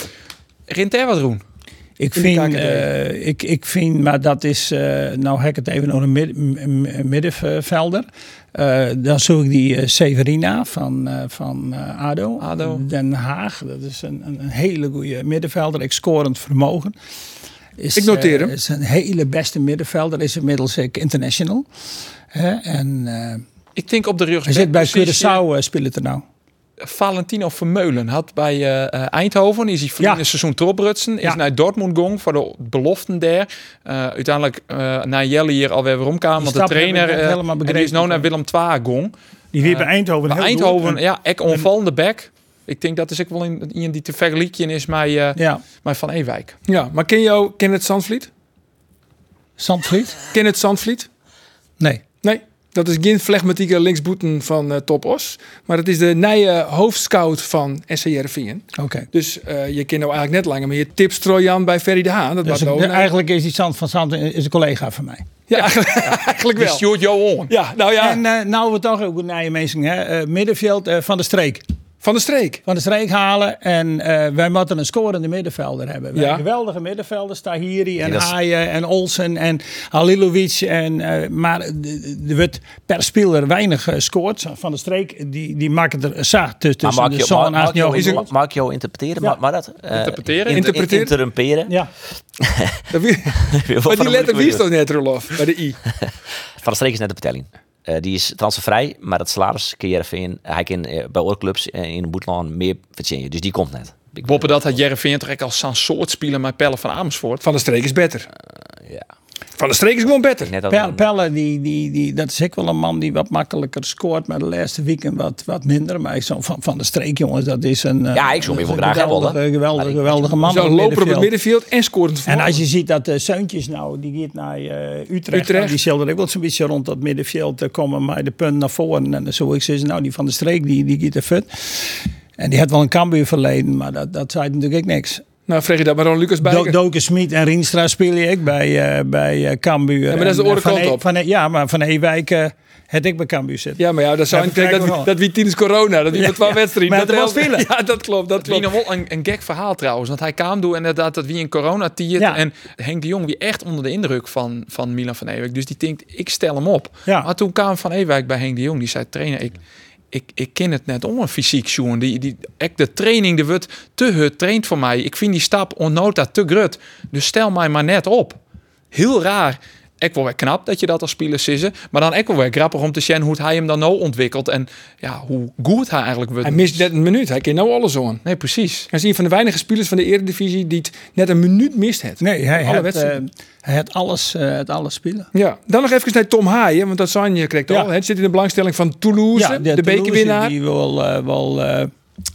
S6: Rinter wat doen.
S4: Ik
S1: In de
S4: vind,
S1: KKD.
S4: eh, ik, ik vind, maar dat is, eh, nou hek het even nog een mid- m- m- middenvelder. Eh, dan zoek ik die eh, Severina van, eh, van eh, ADO.
S6: ADO.
S4: Den Haag, dat is een, een een hele goede middenvelder. Ik scorend vermogen. Is,
S1: Ik noteer hem.
S4: eh, is een hele beste middenvelder. Is inmiddels ook international. Hè, en eh,
S6: Ik denk op de rug.
S4: hij zit bij Curaçao eh, speelt er nou.
S6: Valentino Vermeulen had bij eh, eh, Eindhoven. Is hij verleden
S4: Ja.
S6: seizoen troprutsen. Is
S4: Ja.
S6: naar Dortmund gong voor de beloften daar. Eh, uiteindelijk eh naar Jelle hier alweer weer omkwam. Want de
S4: stap heb ik
S6: trainer
S4: net
S6: eh,
S4: helemaal
S6: en die is
S4: begrepen.
S6: nou naar Willem II gong.
S4: Die weer bij Eindhoven.
S6: Maar Eindhoven, ja, ek onvallende bek. Ik denk dat is ik wel in, in die te vergelijken is mij, eh,
S4: Ja,
S6: mij van Ewijk.
S1: Ja, maar ken jou Kenneth Sandvliet?
S4: Zandvliet?
S1: Kenneth Sandvliet?
S4: Nee.
S1: Nee. Dat is geen flegmatieke linksboeten van eh, Top Os. Maar dat is de nieuwe hoofdscout van SCRV'en.
S4: Oké.
S1: Dus eh, je kent nou eigenlijk net langer meer tips Trojan bij Ferry de Haan. Dat
S4: Dus
S1: was nou
S4: de- eigenlijk is die Sand van Sand is een collega van mij.
S1: ja, (laughs) eigenlijk, eigenlijk
S6: Die
S1: wel.
S6: stuurt jou on.
S1: Ja, nou ja,
S4: En eh, nou we toch ook een nieuwe mensen, hè? eh, middenveld eh, van de streek.
S1: van de streek.
S4: Van de streek halen en eh, wij moeten een scorende middenvelder hebben. Wij
S1: Ja.
S4: hebben geweldige middenvelders, Tahiri en
S5: dat is-
S4: Haaien en Olsen en Halilovic. En, eh, maar eh, er wordt per speler weinig eh, gescoord. Van de streek, die, die maken er zacht tussen
S5: maar
S4: de zon en
S5: Markjo,
S4: Is
S5: Markjo, Markjo interpreteren, maar, maar dat... eh,
S6: Interpreteren?
S5: in- in-
S1: Interpreteren?
S4: (laughs)
S5: Interrumperen.
S4: Ja,
S1: Dat wie- maar die letter wist toch net, Rolof? Bij de I.
S5: Van der Streek is net de betelling. Eh, die is transfervrij, maar dat salaris kun je ervan in. Hij kan eh, bij oorclubs eh, in Boetland meer verdienen. Dus die komt net. Ik-
S6: Boppen dat had Jerry toch echt als zo'n soort speler met Pelle van Amersfoort.
S1: Van de streek is beter. Eh,
S5: ja.
S1: Van de streek is gewoon beter.
S5: Net als
S4: Pelle,
S5: een-
S4: Pelle die, die, die, dat is ook wel een man die wat makkelijker scoort. Maar de laatste weekend wat, wat minder. Maar ik zo van, van de streek, jongens, dat is een... eh,
S5: Ja, ik zou hem heel
S4: een
S5: graag hebben,
S4: geweldige,
S5: hoor.
S4: geweldige,
S5: Maar ik-
S4: geweldige man.
S1: Zo
S4: op
S1: lopen op het
S4: middenveld.
S1: middenveld en scoren
S4: En als je ziet dat de Seuntjes nou, die gaat naar eh, Utrecht.
S1: Utrecht.
S4: nou, die zullen ook wel zo'n beetje rond dat middenveld eh, komen. Maar de punt naar voren. En zo ik zeg, nou die van de streek, die, die gaat er fut. En die had wel een Cambuur verleden, maar dat, dat zei natuurlijk ook niks.
S1: Nou, vraag je dat maar aan Lucas
S4: Do
S1: Bijker.
S4: Doken Smit en Rienstra speel je ook bij, eh, bij eh Cambuur. Ja,
S1: maar dat is de andere kant op.
S4: ja, maar Van Ewijk eh het ik bij Cambuur zitten.
S1: Ja, maar ja, dat zou
S4: Ja,
S1: ik denken dat,
S4: vertrek
S1: we-
S4: nog.
S1: dat wie tijdens corona, dat wie
S4: Ja,
S1: met twaalf
S4: ja.
S1: wedstrijden.
S4: Maar dat was
S1: helpt.
S4: willen.
S1: (laughs) Ja, dat klopt, dat
S6: Het was
S1: klopt.
S6: nog wel een, een gek verhaal trouwens. Want hij kwam door inderdaad dat wie in corona tiert.
S4: Ja.
S6: En Henk de Jong wie echt onder de indruk van, van Milan van Ewijk. Dus die denkt, ik stel hem op.
S4: Ja.
S6: Maar toen kwam Van Ewijk bij Henk de Jong. Die zei, trainer, ik, ik, ik ken het net om een fysiek zoen. Die, die, ek de training, de wordt te hard traint voor mij. Ik vind die stap onnota te grut. Dus stel mij maar net op. Heel raar. Ik wel weer knap dat je dat als speler sisse. Maar dan ook wel weer grappig om te zien hoe hij hem dan nou ontwikkelt. En ja, hoe goed hij eigenlijk wordt.
S1: Hij mist net een minuut. Hij kent nou alles aan.
S6: Nee, precies.
S1: Hij is een van de weinige spelers van de Eredivisie die het net een minuut mist heeft.
S4: Nee, hij
S1: Alle
S4: had,
S1: wedstrijden.
S4: eh, hij had alles, eh, het alles spelen.
S1: Ja. Dan nog even naar Tom Haaien, want dat zijn je correct
S4: Ja.
S1: al. Het zit in de belangstelling van Toulouse, de,
S4: Toulouse,
S1: bekerwinnaar.
S4: Die wil eh, wel eh,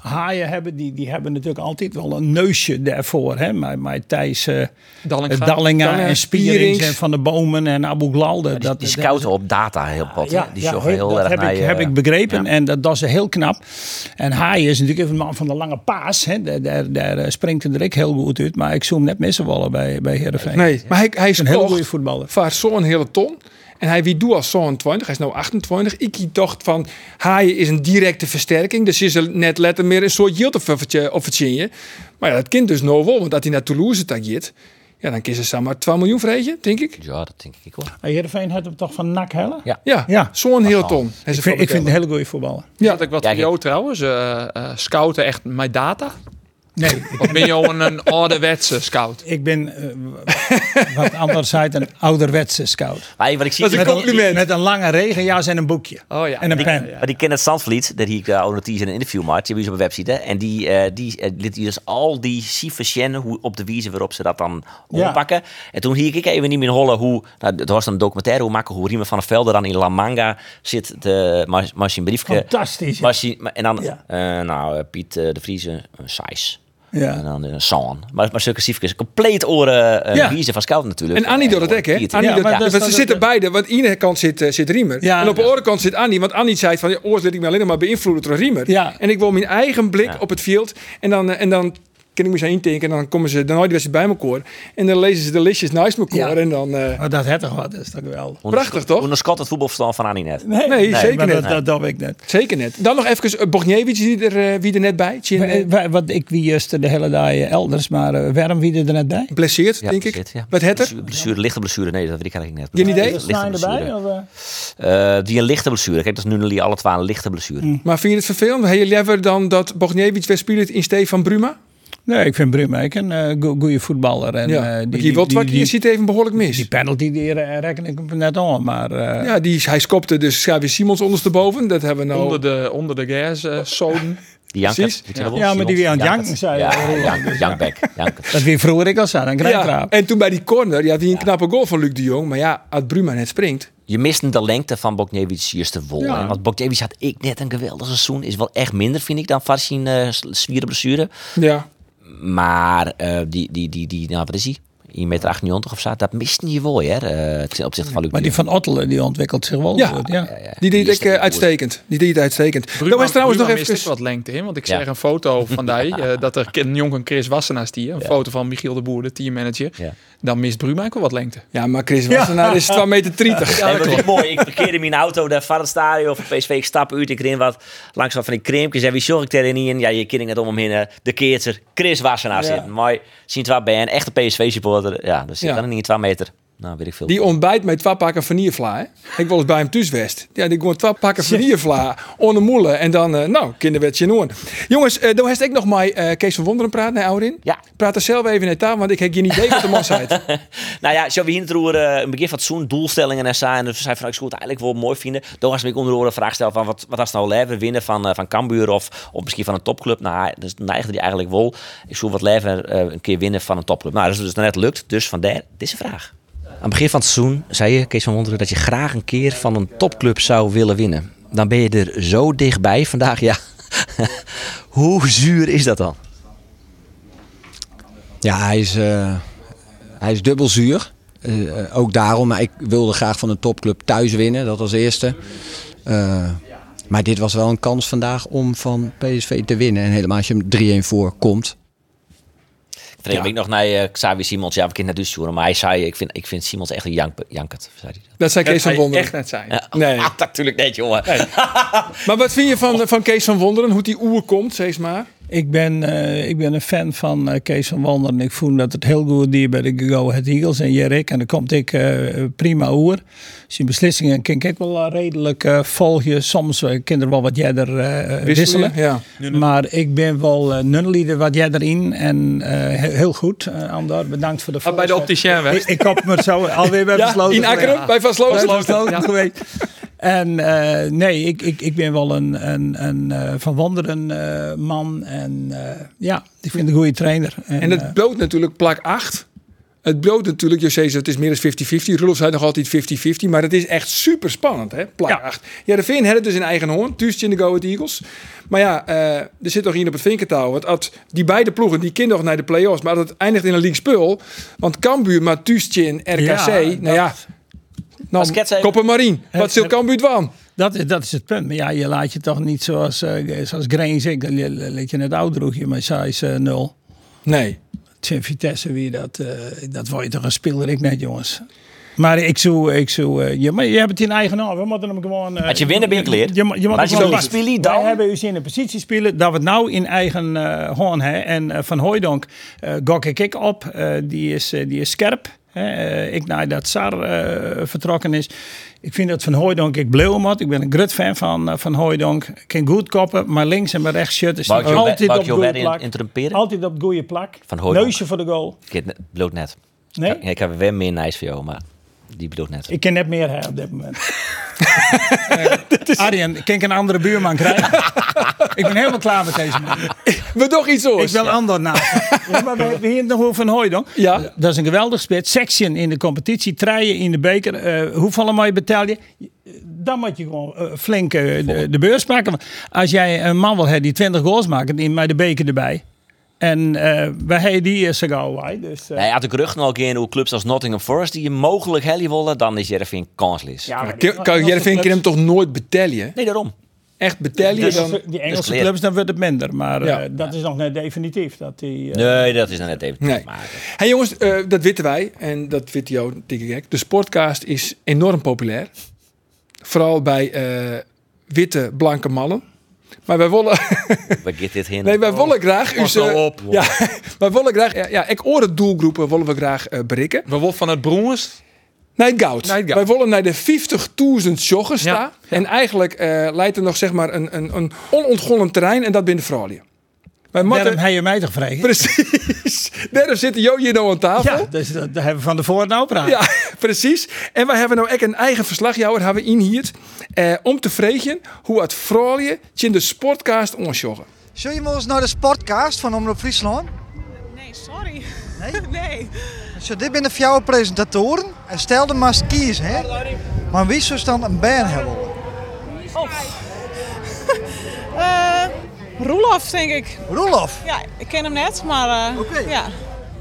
S4: haaien hebben. Die, die hebben natuurlijk altijd wel een neusje daarvoor. Hè? Maar, maar Thijs eh, Dallinga
S6: Dallinga.
S1: Dallinga,
S4: en Spierings
S1: Spierings.
S4: en Van de Bomen en Abu Glalde.
S5: Die, die scouten op data
S4: Ah,
S5: heel wat. hè. die zochten
S4: he-
S5: heel
S4: dat
S5: erg
S4: heb,
S5: naar
S4: ik,
S5: je- eh,
S4: heb ik begrepen
S5: Ja.
S4: en dat, dat is heel knap. En Haaien is natuurlijk even een man van de lange paas. Hè. Daar, daar, daar eh, springt hij er ook heel goed uit. Maar ik zou hem net missen willen bij, bij Heerenveen.
S1: Nee, maar hij, hij is
S4: Een hele
S1: kocht
S4: goede voetballer.
S1: voor zo'n hele ton. En hij wie doet als zo'n 20, hij is nou 28. Ik dacht van Haaien is een directe versterking. Dus is er net letter meer een soort yield offertje. Maar ja, dat kind dus nou wel, want dat hij naar Toulouse tagiert. Ja, dan kiezen ze maar 12 miljoen vreetje, denk ik.
S5: Ja, dat denk ik wel.
S4: Heerenveen had hem toch van nak hellen?
S5: Ja.
S1: Ja,
S4: Ja.
S1: zo'n hele ton. Hij is
S4: Ik vind,
S1: een
S4: ik vind een hele goede voetballer.
S6: Ja, dat ik wat
S5: Ja,
S6: voor
S5: ik-
S6: jou trouwens. eh, eh, scouten echt mijn data?
S4: Nee,
S6: Of ben je een, een ouderwetse scout?
S4: Ik ben, eh, w- wat anders uit, een ouderwetse scout.
S5: Maar wat ik zie...
S1: Dat is een
S5: maar die-
S1: compliment.
S4: Met een lange regenjas en een boekje.
S6: Oh ja.
S4: En een
S5: die-
S4: pen.
S5: Maar die Kenneth Sandvliet, dat hier ik uh, ook notitie in een interview maakt, die hebben ze op een website. hè. En die, eh, die eh, liet hier dus al die cijfers kennen, hoe op de wijze waarop ze dat dan
S4: Ja.
S5: oppakken. En toen hier ik even niet meer hollen hoe, nou, het was een documentaire, hoe maken hoe Riemen van der Velde dan in La Manga zit, de Mar- Marcin Briefke.
S4: Fantastisch.
S5: Marcin- maar- en dan,
S4: Ja.
S5: eh, nou, eh, Piet eh, de Vriezen, een Sijs. En
S4: Ja.
S5: dan eh, een Saan. Maar, maar zulke cijfers, compleet oren eh
S1: Ja.
S5: wijze van scouten natuurlijk. Eh,
S1: En Annie doet
S5: dat
S1: het ook, hè? Annie
S4: Ja,
S1: doet
S4: maar dus
S1: het.
S4: dat is
S1: Want ze
S4: dan
S1: zitten
S4: de-
S1: beide. Want aan de ene kant zit, eh, zit Riemer.
S4: Ja.
S1: en op de
S4: Ja.
S1: andere kant zit Annie. Want Annie zei van, ja, oors liet ik me alleen nog maar beïnvloeden door Riemer.
S4: Ja.
S1: En ik wil mijn eigen blik op het veld. En dan, eh, en dan kan ik me zo intinken. En dan komen ze, dan hoor je die wedstrijd bij elkaar. En dan lezen ze de listjes naast elkaar.
S4: Ja.
S1: En dan, eh,
S4: Maar Oh, dat had toch wat, dat is toch wel.
S1: Prachtig, toch?
S5: Onder Scott het voetbalverstand van Annie net.
S4: Nee,
S1: nee, zeker
S4: maar
S1: niet.
S4: Dat, dat, dat weet ik net.
S1: zeker net. Dan nog even uh, die er, eh, wie er net bij. Chin,
S4: Wij-
S1: eh,
S4: wij- Want ik wie juist de hele dag eh, elders, maar eh, waarom wie er net bij?
S1: blesseert,
S5: Ja,
S1: denk ik.
S5: zit, ja.
S1: Wat het er?
S5: Blessure, blessure, lichte blessure. Nee, dat weet ik eigenlijk net.
S1: Geen idee?
S5: Lichte blessure. Eh, die een lichte blessure. Kijk, dat is nu jullie alle twaalf een lichte blessure.
S1: Maar vind je het vervelend? Heel lever dan dat Bogniewicz weer speelt in steed van Bruma?
S4: Nee, ik vind Brum eigenlijk een eh, go- goede voetballer. En,
S1: ja.
S4: eh,
S1: Want
S4: die,
S1: die,
S4: die, die,
S1: Wotwak, hier
S4: die,
S1: zit even behoorlijk mis.
S4: die penalty die eh, reken ik hem net aan, maar eh,
S1: Ja, die, hij skopte dus Xavier Simons ondersteboven. Dat hebben we nou...
S6: Onder de, onder de gas eh, zoden.
S5: Die jankert.
S1: Precies.
S5: Die kennen we
S4: Ja,
S5: wel.
S4: maar die weer aan het janken zei.
S5: Ja, jank- jankback. Jankert.
S4: dat weer vroeger ik al zei, dan krijg
S1: (laughs)
S4: ik
S1: ja,
S4: raap.
S1: en toen bij die corner, ja, die een knappe goal van Luc de Jong. Maar ja, uit Bruma net springt.
S5: Je mist de lengte van Boknevich hier te vol. hè. Want Boknevich had ik net een geweldig seizoen. Is wel echt minder, vind ik, dan Varsin eh zwieren blessure.
S1: Ja.
S5: Maar eh, die, die, die, die, nou, wat is die? 1,98 meter of zo. Dat misten je wel, hè, eh, ten opzichte van Luc
S4: Maar
S5: de
S4: die van
S5: Jong.
S4: Ottelen die ontwikkelt zich wel.
S1: Ja.
S4: goed, ja.
S1: Die deed
S5: Die is
S1: ik eh,
S5: er-
S1: uitstekend. Die deed het uitstekend.
S6: Bruman,
S1: dat was trouwens nog
S6: Bruman mist
S1: even...
S6: ook wat lengte in, want ik
S5: Ja.
S6: zag een
S5: (laughs)
S6: foto van die, eh, dat er een jongen Chris Wassenaar stier, een foto van Michiel de Boer, de teammanager.
S5: Ja.
S6: Dan mist Bruma ook wel wat lengte.
S1: Ja, maar Chris Wassenaar is 2 meter
S5: (laughs)
S1: 30.
S5: Nee, maar dat is mooi. Ik parkeerde mijn auto daar van het stadion van PSV. Ik stap uit, ik rin wat langs wat van die krimpjes. En wie zorg ik daarin in? Ja, je kinderen net om hem heen. eh, De keertser Chris Wassenaar zit. Mooi. Zien het waar ben. Een echte PSV-supporter. Ja, dus zit
S1: Ja.
S5: dan niet 2 meter. Nou, weet ik veel.
S1: Die ontbijt met twee pakken vanillevla. hè. Ik was bij hem thuis west. Ja, die gewoon twee pakken vanillevla onder moele. En dan, eh, nou, kinderwet genoen. Jongens, eh dan heeft ik nog maar eh, Kees van Wonderen praat naar Aurin.
S5: Ja.
S1: Praat er zelf even naar tafel, want ik heb geen idee wat de man zei.
S5: (laughs) Nou ja, zo we hier natuurlijk eh, een begin van zo'n doelstellingen en zijn. Dus we zijn van, ik zou het eigenlijk wel mooi vinden. Toen was ik onder andere een vraag stellen van, wat, wat als nou leven winnen van, eh, van Cambuur of, of misschien van een topclub? Nou, dus neigde die eigenlijk wel. Ik zou wat leven een keer winnen van een topclub. Nou, dat is dus net lukt. Dus vandaar deze vraag. Aan het begin van het seizoen zei je, Kees van Wonderen, dat je graag een keer van een topclub zou willen winnen. Dan ben je er zo dichtbij vandaag, ja. (laughs) Hoe zuur is dat dan?
S7: Ja, hij is, eh, hij is dubbel zuur. Eh, eh, ook daarom, maar ik wilde graag van een topclub thuis winnen, dat als eerste. Eh, maar dit was wel een kans vandaag om van PSV te winnen. En helemaal als je hem 3-1 voor komt.
S5: Vreemd ik nog naar eh, Xavier Simons. Ja, we kunnen naar Duitsland, maar hij zei: ik vind, ik vind Simons echt een jank, jankert. Zei hij dat.
S1: Dat zei Kees
S6: Dat
S1: van
S6: zou je echt
S1: Wonderen.
S6: net zijn.
S1: Nee.
S5: (laughs) Ah, natuurlijk net, jongen.
S1: Maar wat vind je van, van Kees van Wonderen? Hoe die oer komt, zeg maar.
S4: Ik, ben, eh, ik ben een fan van eh, Kees van Wanderen. Ik voel dat het heel goed die bij de Go Ahead Eagles en Jerik. En dan komt ik eh, prima oer. Zijn beslissingen kan ik wel eh, redelijk eh, volgen. Soms eh, kan er wel wat jeder eh, wisselen.
S1: Ja.
S4: Maar ik ben wel eh nunnelieder wat jij erin. En eh, he- heel goed, eh Andor. Bedankt voor de
S6: Ah, bij de
S4: voorzet.
S6: opticien weg.
S4: Ik, ik heb me zo alweer bij
S1: Ja,
S4: besloten.
S1: in Akkeren, bij Van Sloten.
S4: Sloten. geweest. En eh, nee, ik, ik, ik ben wel een, een, een eh, van wanderen eh, man. En eh, ja, ik vind een goede trainer. En,
S1: En
S4: eh,
S1: het bloot natuurlijk plak 8. Het bloot natuurlijk, je zei, het is meer dan 50-50. Roelof zei nog altijd 50-50, maar het is echt super spannend, hè? Plak
S4: Ja.
S1: 8. Ja, de Veen had het dus in eigen hoorn, Tuustje in de Go Ahead Eagles. Maar ja, eh, er zit toch hier op het vinkertouw. Want als die beide ploegen, die kinderen nog naar de play-offs, maar dat eindigt in een league spul. Want Cambuur, maar Tuustje en RKC,
S4: Ja,
S1: nou
S4: dat-
S1: ja.
S5: Als Kets
S1: Nou,
S5: even-
S1: Koppermarien, wat zil
S4: het-
S1: Cambuur dwan?
S4: dat, is- dat is het punt. Maar ja, je laat je toch niet zoals, eh zoals Grain zegt. Dan li- li- liet je net oud droeg je maar size eh, 0.
S1: Nee.
S4: Tegen Vitesse wie dat, eh, dat word je toch een speler ik net jongens. Maar ik zou, ik zou, eh, je, maar je hebt het in eigen hand. We moeten hem gewoon. eh,
S5: Als je winnen bent, leert.
S4: Je, moet- je moet
S5: Maar
S4: hem
S5: als je
S4: gewoon
S5: niet
S4: pakken.
S5: speelt, dan-
S4: Wij hebben dus in een positie spelen dat we het nou in eigen eh hoorn hebben. En eh, Van Hooijdonk eh gok ik ik op. Eh, die, is, eh, die is scherp. Hè, eh, ik naar dat Sar eh, vertrokken is. Ik vind dat Van Hooijdonk ik bleeuw moet. Ik ben een groot fan van eh, Van Hooijdonk. Ik kan goed koppen, maar links en maar rechts shut is
S5: Wou ik je-
S4: altijd
S5: wou
S4: op
S5: ik je
S4: goede
S5: wel in-
S4: plak.
S5: interrumperen?
S4: Altijd op goede plak.
S5: Van Hooijdonk.
S4: Neusje voor de goal.
S5: Ik heb net- bloot net.
S4: Nee?
S5: Ja, ik heb weer meer nice voor jou, maar die bloot net.
S4: Ik ken net meer hè, op dit (laughs) moment. Eh, Arjen, kan ik een andere buurman (laughs) krijgen? ik ben helemaal klaar met deze man.
S1: We toch iets
S4: Ik
S1: oors.
S4: wil ander naam. Ja, maar we hebben hier nog over Van Hooijdonk.
S1: Ja.
S4: Dat is een geweldig spits. Section in de competitie, treien in de beker. Eh hoeveel moet je betalen? Dan moet je gewoon eh, flink eh, de, de beurs maken. Want als jij een man wil hebben die 20 goals maakt, neem maar de beker erbij. En eh wij hebben die eerst zo gauw wij. Dus, eh,
S5: Hij had ik rug nog in hoe clubs als Nottingham Forest die je mogelijk helly willen, dan is Jervin kanslis.
S4: ja, maar die-
S1: Kan- Kan Jervin hem toch nooit betellen?
S5: Nee, daarom.
S1: Echt betellen
S4: Die
S1: dan?
S4: Engelse, die Engelse
S5: clear.
S4: clubs, dan wordt het minder. Maar eh,
S1: Ja.
S4: dat is nog net definitief. Dat die, eh,
S5: Nee, dat is nou net even.
S1: Nee.
S5: Maar,
S1: Hé hey jongens, eh, dat weten wij en dat weet jou, dikke gek. De sportcast is enorm populair. Vooral bij eh, witte, blanke mannen. Maar wij willen, (laughs)
S5: eh, waar gaat dit heen?
S1: nee, wij willen graag. uw,
S6: nou
S1: eh,
S6: op.
S1: Ja, (laughs) wij willen graag. Ja, ja ik oren doelgroepen willen we graag eh, bereiken.
S6: We wolf van het Broers.
S1: Naar het goud.
S6: Naar het goud.
S1: Wij willen naar de 50.000 joggers
S6: Ja,
S1: staan. En eigenlijk eh, leidt er nog zeg maar een, een, een onontgonnen terrein en dat binnen Fralië. Wij
S4: Daarom
S1: moeten,
S4: heb je mij toch vrij?
S1: precies. Daarom zitten Jo hier nou aan tafel.
S4: Ja, dus dat, daar hebben we van de voor nou praten.
S1: Ja, (laughs) precies. En wij hebben nou ook een eigen verslagjouwer hebben we in hier. eh, om te vregen hoe het Frolje in de sportcast onjoggen.
S8: Zul je ons naar de sportcast van Omroep Friesland?
S9: Nee, sorry.
S8: Nee?
S9: (laughs) Nee.
S8: Zo, dit ben de jouw presentatoren. En stel de maar kies, hè? Maar wie zou dan een band hebben?
S9: Oh. (laughs) Eh Roelof, denk ik.
S8: Roelof.
S9: Ja, ik ken hem net, maar eh,
S8: Oké.
S9: ja.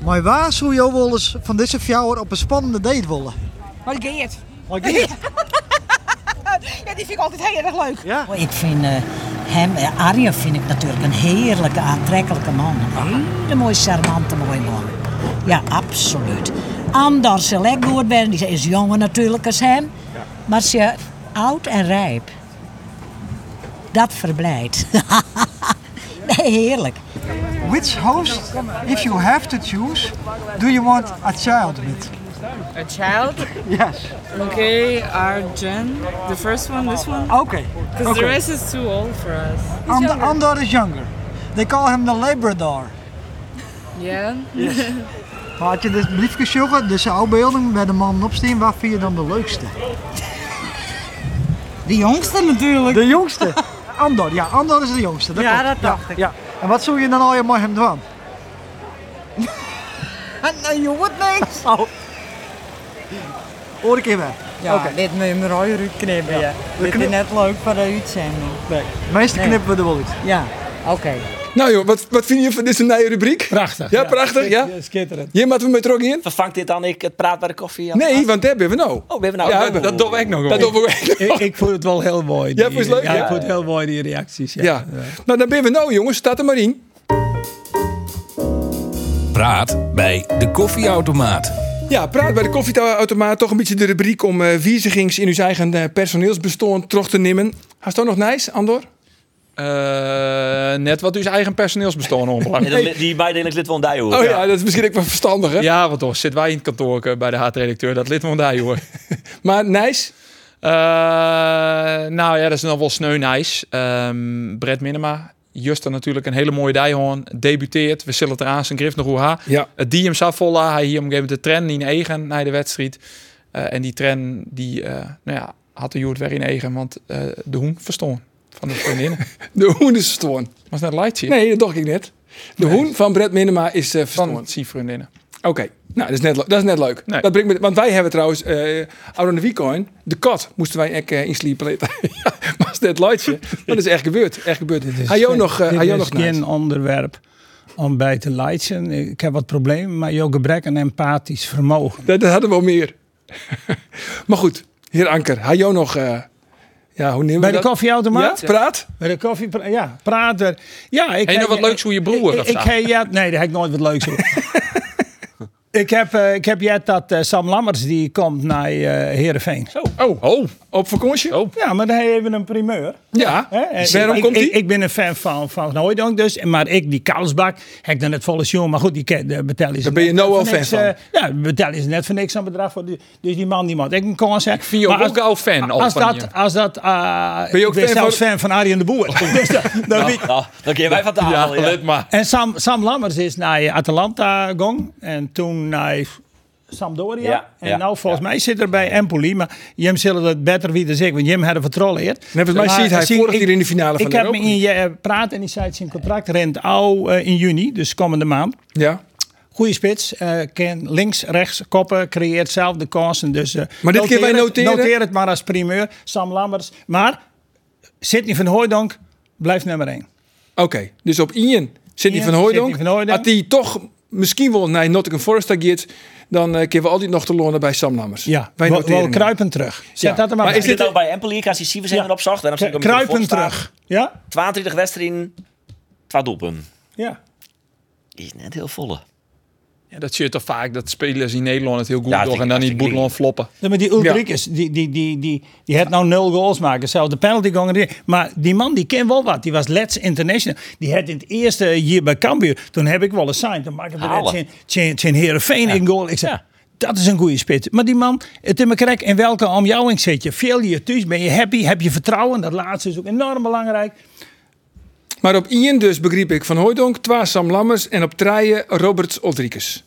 S8: Maar waar zou je wel eens van deze fjouwer op een spannende date willen?
S9: Maar Geert.
S8: Maar Geert,
S9: Ja, die vind ik altijd heel erg leuk.
S8: ja.
S10: Ik vind eh, hem, eh, Arjen vind ik natuurlijk een heerlijke, aantrekkelijke man.
S9: Ah.
S10: Een hele mooie, charmante, mooie man. Ja, absoluut. Anders zal ik goed ben, die is jonger natuurlijk als hem. Maar ze is oud en rijp. Dat verblijdt. (laughs) nee, heerlijk.
S8: Which host, if you have to choose, do you want a child with?
S9: A child.
S8: Yes.
S9: Okay, our Jen. The first one, this one.
S8: Oké. Okay.
S9: Because the rest is too old for us.
S8: And Andor is younger. They call him the Labrador.
S9: Yeah.
S8: Maar had je dit briefje zoeken, dus afbeelding bij de man opstaan, waar vind je dan de leukste?
S9: De jongste natuurlijk.
S8: De jongste? (laughs) Andor, ja, Andor is de jongste. Dat
S9: Ja,
S8: klopt.
S9: dat dacht ik.
S8: Ja. En wat zou je dan al je met hem doen?
S9: Nou, je hoort niks.
S8: Hoor ik je wel.
S9: Ja, dit moet je me rooien uitknippen. Ja. Dit
S8: knip-
S9: is net leuk voor de uitzending.
S8: Meestal knippen we er wel uit.
S9: Ja, oké.
S1: Nou joh, wat, wat vind je van deze nieuwe rubriek?
S4: Prachtig.
S1: Ja, prachtig, ja.
S4: Schitterend.
S1: Hier moeten we met ook in?
S5: Vervangt dit dan ik het praat bij de koffie?
S1: Nee, want daar ben we nou.
S5: Oh, ben we nou?
S6: Ja, dat doen we echt nog wel.
S1: Dat doen we echt nog.
S4: Ik, ik vond het wel heel mooi.
S1: Ja,
S4: die-
S1: vond je het leuk, ja?
S4: ik vond het heel mooi, die reacties. Ja.
S1: Ja. Nou, dan ben we nou jongens. Staat er maar in.
S11: Praat bij de koffieautomaat.
S1: Ja, praat bij de koffieautomaat. Toch een beetje de rubriek om eh wiezigings in uw eigen eh, personeelsbestand terug te nemen. Haast ook nog nice, Andor?
S6: Eh, net wat uw eigen personeelsbestoren onbelangrijk.
S5: Die bijdeling lid van Dijhoek.
S1: Oh ja, dat is misschien ook wel verstandiger.
S6: Ja, want toch zitten wij in het kantoor eh, bij de haatredacteur. Dat lid van daar, hoor.
S1: Maar nice.
S6: Eh, nou ja, dat is nog wel sneu nice. Ehm Brett Minema, Juster natuurlijk een hele mooie dijhoorn. Debuteert, we zullen het eraan zijn grift nog hoe ha.
S1: Ja.
S6: Het die hem Savolla, hij hier op een gegeven moment de trend in eigen naar de wedstrijd. Eh, en die trend, die, eh, nou ja, had de Joert weer in eigen, want eh, de hoen verstoorn van de vriendinnen.
S1: De hoen is verstoorn.
S6: Was net lightje
S1: Nee, dat dacht ik net. De hoen van Brett Minema is eh
S6: van
S1: verstoorn.
S6: die vriendinnen.
S1: Oké, nou, dat is net, le- dat is net leuk.
S6: Nee.
S1: Dat brengt me, want wij hebben trouwens, eh out on the weekend, de kat moesten wij ook eh, insliepen later. (laughs) ja, maar is net
S4: (laughs)
S1: leutje. Maar dat is echt gebeurd. Echt gebeurd. Hij jou nog, eh,
S4: dit
S1: hij jou
S4: is
S1: nog
S4: geen
S1: nice.
S4: onderwerp om bij te leiden. Ik heb wat problemen, maar jouw gebrek aan empathisch vermogen.
S1: Dat, dat hadden we al meer. (laughs) maar goed, heer Anker, hij jou nog, eh, ja, hoe nemen we
S4: Bij de
S1: dat?
S4: koffieautomaat?
S1: Ja, praat.
S4: Bij de koffie, ja, praat er. Ja, ik
S6: Heb je nog wat leuks hoe je broer
S4: Ik,
S6: of
S4: ik,
S6: zo?
S4: heb- ja, nee, daar heb ik nooit wat leuks over. ik heb, eh, ik heb jet dat eh, Sam Lammers die komt naar eh Heerenveen.
S6: Oh, oh.
S1: Op vakantie?
S4: Ja, maar dan hebben we een primeur.
S1: Ja.
S4: Hè? En
S1: Waarom
S4: ik,
S1: komt
S4: ik,
S1: hij?
S4: ik ben een fan van, van Hooijdonk dus. Maar ik, die Karlsbak, heb ik dan net volle show. Maar goed, die ken- de betel is
S1: Daar ben je
S4: net
S1: nou
S4: voor
S1: al fan
S4: niks,
S1: van.
S4: eh, ja, betel is net voor niks aan bedrag. Voor die- dus die man, die man. Ik een kans hebben.
S6: Vind je
S4: Maar
S6: ook
S4: als-
S6: ook al fan al
S4: als
S6: van
S4: dat,
S6: je?
S4: als dat, eh,
S1: Ben je ook
S4: ik ben
S1: fan
S4: zelfs
S1: van-
S4: fan van Arjen de Boer. (laughs) dus dat,
S5: Nou.
S4: dat wie-
S5: Oh, dan keer wij van
S6: Ja,
S5: tafel. Ja,
S6: lid maar.
S4: En Sam, Sam Lammers is naar eh, Atalanta gong en toen naar Sampdoria.
S5: Ja,
S4: en
S5: ja,
S4: nou, volgens mij zit er bij Empoli, maar Jim zullen dat beter wie dan ik, want Jim had een vertrolleerd.
S1: Nee, volgens mij
S4: Maar
S1: ziet hij
S4: zie-
S1: vorig
S4: ik-
S1: jaar in de finale van
S4: Ik
S1: de
S4: heb
S1: Europa
S4: me in je eh, praat en die zei zijn contract rent au eh, in juni, dus komende maand.
S1: Ja.
S4: Goeie spits, eh, kan links, rechts koppen, creëert zelf de kansen. Dus, eh,
S1: Maar dit keer wij
S4: het-
S1: noteren?
S4: Noteer het maar als primeur, Sam Lammers. Maar Sidney van Hooijdonk blijft nummer 1.
S1: Oké, dus op Ian Sidney
S4: Ian,
S1: van Hooijdonk.
S4: Sidney van Hooijdonk.
S1: Had hij toch misschien wel naar Nottingham Forest gaat, dan eh kunnen we altijd nog te lonen bij Sam Lammers.
S4: Ja,
S1: wij
S4: wel,
S1: noteren
S4: wel
S1: hem.
S4: kruipend terug. Zet
S1: Ja.
S4: dat er maar,
S1: Maar
S4: bij.
S1: is
S5: Is dit ook bij Empoli? Ik als die Sivers even
S4: Ja.
S5: opzag. Daarom zit ik op mijn
S4: kruipend
S5: telefoon staan.
S4: terug. Ja?
S5: 22 wedstrijden, 12 doelpunten.
S4: Ja.
S5: Is net heel volle.
S6: Ja, dat zie je toch vaak, dat spelers in Nederland het heel goed
S5: Ja,
S6: doen
S5: dat
S6: en
S5: ik-
S6: dan
S5: dat
S6: niet
S5: ik denk-
S6: Boedelon floppen.
S4: Ja, Maar die Ulrikus, die, die, die, die, die had nou nul goals maken. Zelfs de penalty gong. Maar die man, die ken wel wat. Die was Let's International. Die had in het eerste jaar bij Cambuur. Toen heb ik wel eens zijn. Toen maakte
S5: Halen.
S4: het zijn zijn Heerenveen een goal. Ik zei,
S5: Ja.
S4: dat is een goede spits. Maar die man, het in mijn krek, in welke omjouwing zit je? Veel je thuis, ben je happy? Heb je vertrouwen? Dat laatste is ook enorm belangrijk.
S1: Maar op Ian dus begreep ik van Hooijdonk, Twa Sam Lammers en op Traaien Roberts Oldrikus.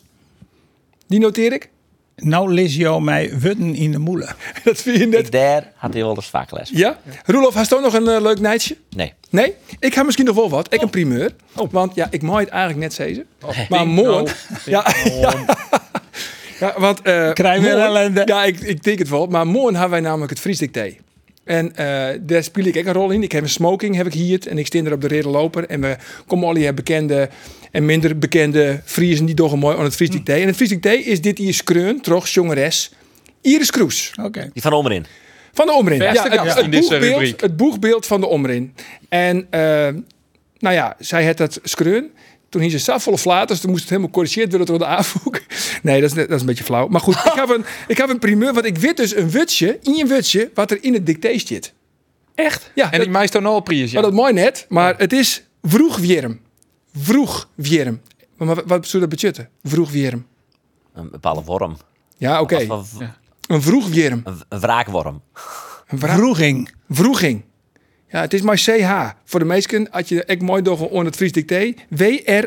S1: Die noteer ik. (laughs)
S4: Nou lees jou mij wutten in de moelen.
S1: Dat vind je net.
S5: Ik daar had hij wel eens vaak les.
S1: Ja. Roelof, had je ook nog een eh, leuk nijtje?
S5: Nee.
S1: Nee, ik heb misschien nog wel wat. Ik een primeur.
S6: Oh.
S1: Want ja, ik mooi het eigenlijk net zeggen. Maar mooi.
S6: nou.
S1: (laughs) Ja, ja. Ja, (laughs) want, eh,
S4: Krijgen we
S1: morgen-
S4: ellende.
S1: Ja, ik, ik denk het wel. Maar morgen hebben wij namelijk het Fries dicté. En eh, daar speel ik ook een rol in. Ik heb een smoking, heb ik hier. En ik stin er op de Ridderloper. En we komen al die bekende en minder bekende Friesen die toch een mooi aan het Friesdict
S4: Hm.
S1: En het Friesdict is dit hier skreun, trots jongeres, Iris Kroes.
S4: Oké.
S5: Die van Omrin.
S1: Van de Omrin.
S6: Beste
S1: het,
S6: gast
S1: het
S6: in deze
S1: boegbeeld-
S6: rubriek.
S1: Het boegbeeld van de Omrin. En eh, nou ja, zij had dat skreun. Toen hing ze safvolle flaters. Toen moest het helemaal corrigeerd worden door de aanvoek. (laughs) Nee, dat is, net- dat is een beetje flauw. Maar goed, ik heb
S6: (laughs)
S1: een, ik heb een primeur. Want ik weet dus een wutje, in een wutje, wat er in het dictaat zit.
S6: Echt?
S1: Ja,
S6: en
S1: dat-
S6: ik meest dan al prijs. Ja.
S1: maar dat mooi net, maar het is vroeg wierm. Vroeg wierm. Maar wat, wat zou dat betutten? Vroeg wierm.
S5: Een bepaalde worm.
S1: Ja, oké.
S5: Of een-
S1: Een vroeg wierm.
S5: een, een wraakworm.
S1: Een vra-
S4: Vroeging.
S1: vroeging. Ja, het is maar CH. Voor de meesten had je echt mooi door on het Fries dicté. E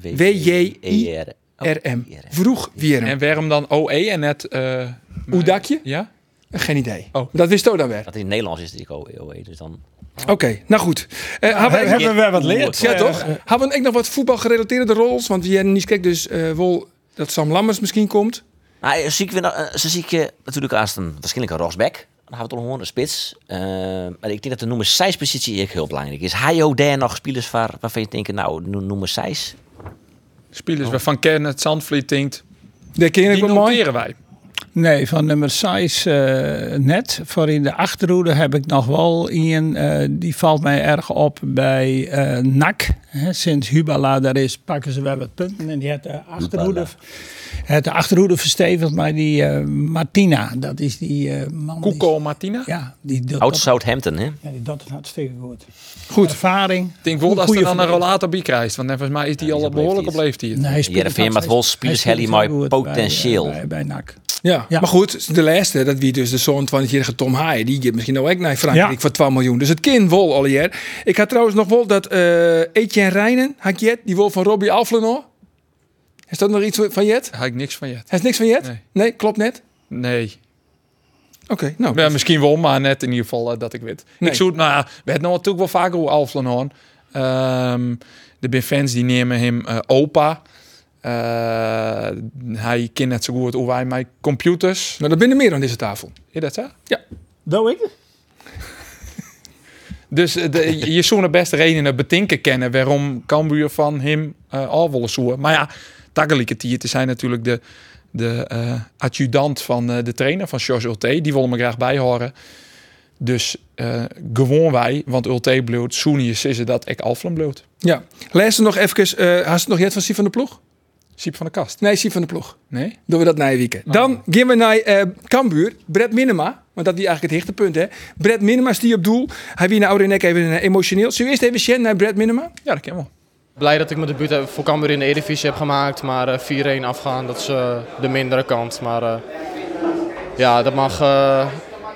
S1: W-R-O-E-C-H-W-J-I-R-M.
S5: W-J-I-R.
S1: Vroeg wierm.
S6: En waarom dan OE en net... eh
S1: Hoe dak je?
S6: ja?
S1: Geen idee.
S6: Oh.
S1: Dat wist ook dan weer.
S5: Dat in het Nederlands is die OE. Dus dan...
S1: Oké, nou goed. Eh, hebben we-
S4: Hebben we wat geleerd?
S1: Ja, toch? Hebben we ook nog wat voetbalgerelateerde roles? Want je niet kijkt dus eh wel dat Sam Lammers misschien komt.
S5: Nou, zie ik weer, nou, eh, zo zie ik eh, natuurlijk als een waarschijnlijk een Rosbeck. Dan gaan we toch gewoon een spits. Eh, maar ik denk dat de nummer 6 positie ook heel belangrijk is. Hij ook daar nog spelers waar, waarvan je denkt, nou, no- nummer 6.
S1: Oh.
S6: Spelers waarvan Kern het Zandvliet denkt,
S1: Daar ken ik
S6: die
S1: wel mooi.
S6: noteren wij.
S4: Nee, van nummer 6 eh, net. Voor in de achterhoede heb ik nog wel een. eh, die valt mij erg op bij eh NAC. Hè, sinds Hubala daar is, pakken ze weer wat punten. En die heeft de achterhoede, heeft de achterhoede verstevigd. Maar die eh, Martina, dat is die eh, man. die-
S6: Koeko Martina.
S4: ja, die doet,
S5: Oud
S4: dat,
S5: Southampton, hè?
S4: ja, die doet het hartstikke goed. Goed. Ervaring.
S6: Ik denk wel dat ze
S4: Goeie
S6: dan een
S4: verdediging.
S6: rollator bij krijgt. Want volgens mij is die
S5: Ja, die
S6: al
S5: is
S6: behoorlijk op
S5: op leeftijd.
S6: leeftijd.
S4: Nee, hij speelt
S5: Heerenveen
S4: het
S5: met
S4: hartstikke-
S5: Wolfs, Pielers,
S4: hij speelt
S5: Helly,
S4: het
S5: maar
S4: heel goed bij, eh,
S5: potentieel.
S4: Bij, bij NAC.
S1: Ja.
S4: Ja.
S1: Maar goed, de laatste, dat wie dus de zoon van het Tom Haaien. Die gaat misschien nou ook naar Frankrijk
S4: Ja.
S1: voor 12 miljoen. Dus het kind wol al jaar. Ik had trouwens nog wel dat eh Etienne Rijnen, had Jet, die wol van Robbie Alflenor. Is dat nog iets van Jet?
S6: Daar heb ik niks van je.
S1: Hij is niks van Jet? Nee,
S6: Nee.
S1: klopt net.
S6: Nee.
S1: Oké, nou.
S6: Ja, misschien wel, maar net in ieder geval eh, dat ik weet.
S1: Nee.
S6: Ik zoet, nou ja, we hebben natuurlijk wel vaker hoe Alflen hoorn. Ehm er zijn fans die nemen hem eh, opa. Eh, hij kent net zo goed hoe wij met computers.
S1: Nou, dat binnen meer aan deze tafel.
S6: Is dat zo?
S4: Doe ik het?
S6: Dus eh, de, je zou er best redenen betinken kennen waarom Cambuur van hem eh al willen zoeken. Maar ja, tegelijkertijd is hij natuurlijk de, de eh, adjudant van eh, de trainer van George Ulte. Die willen me graag bijhoren. Dus eh, gewoon wij, want Ulte bloot, Soenius is er dat ik Alflen bloot.
S1: Ja. Lees er nog even, eh had het nog Jet van Sief van de Ploeg?
S6: Siep van de kast.
S1: Nee, Sief van de Ploeg.
S6: Nee?
S1: Doen we dat na je weekend. Dan gaan we naar eh Kambuur. Brett Minema. Want dat is eigenlijk het hichtepunt, hè. Brett Minema is die op doel. Hij wie naar Oude Nek even eh, emotioneel. Zullen we eerst even Shen naar Brett Minema?
S6: Ja, dat ken wel.
S12: Blij dat ik mijn debuut heb- voor Cambuur in de Eredivisie heb gemaakt. Maar eh, 4-1 afgaan, dat is eh, de mindere kant. Maar eh, ja, dat mag, eh,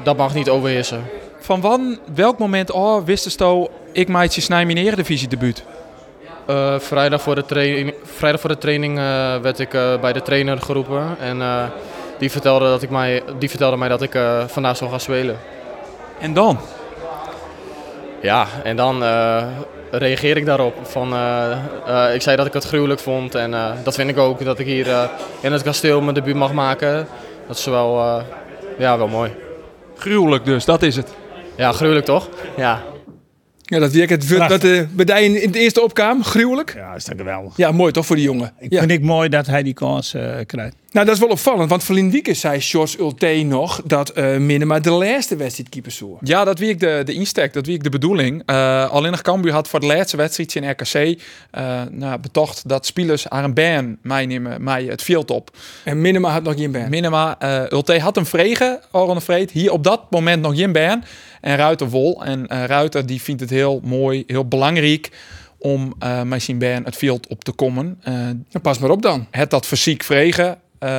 S12: dat mag niet overheersen.
S6: Van wan, welk moment oh, wist je ik maatje snij mijn eredivisie debuut?
S12: Eh, vrijdag, voor de training, vrijdag voor de training eh, werd ik eh, bij de trainer geroepen. En eh, die, vertelde dat ik mij, die vertelde mij dat ik eh, vandaag zou gaan spelen.
S6: En dan?
S12: Ja, en dan eh, reageer ik daarop. Van, eh, eh, ik zei dat ik het gruwelijk vond en eh, dat vind ik ook. Dat ik hier eh, in het kasteel mijn debuut mag maken. Dat is wel, eh, ja, wel mooi.
S6: Gruwelijk dus, dat is het.
S12: Ja, gruwelijk toch? Ja.
S1: Ja, dat werkt het dat
S4: Prachtig.
S1: de in, in de eerste opkwam. Gruwelijk.
S4: Ja, is dat geweldig.
S1: Ja, mooi toch voor die jongen.
S4: Ik
S1: Ja.
S4: vind ik mooi dat hij die kans eh, krijgt.
S1: Nou, dat is wel opvallend. Want verleden weekend zei George Ulte nog dat eh Minema de laatste wedstrijdkeeper zou.
S6: Ja, dat wie ik de, de insteek, dat wie ik de bedoeling. Eh, alleen nog Cambuur had voor de laatste wedstrijd in RKC eh, nou, betocht dat spelers haar een ban meenemen, mij het veld op.
S1: En Minema had nog geen band.
S6: Minima, eh Ulte had hem vregen, Aron de Vreed, hier op dat moment nog Jim Bern en Ruiter Wol. En eh, Ruiter die vindt het heel mooi, heel belangrijk om eh met zijn Bern het veld op te komen. Eh,
S1: Nou, pas maar op dan.
S6: het dat fysiek vregen, eh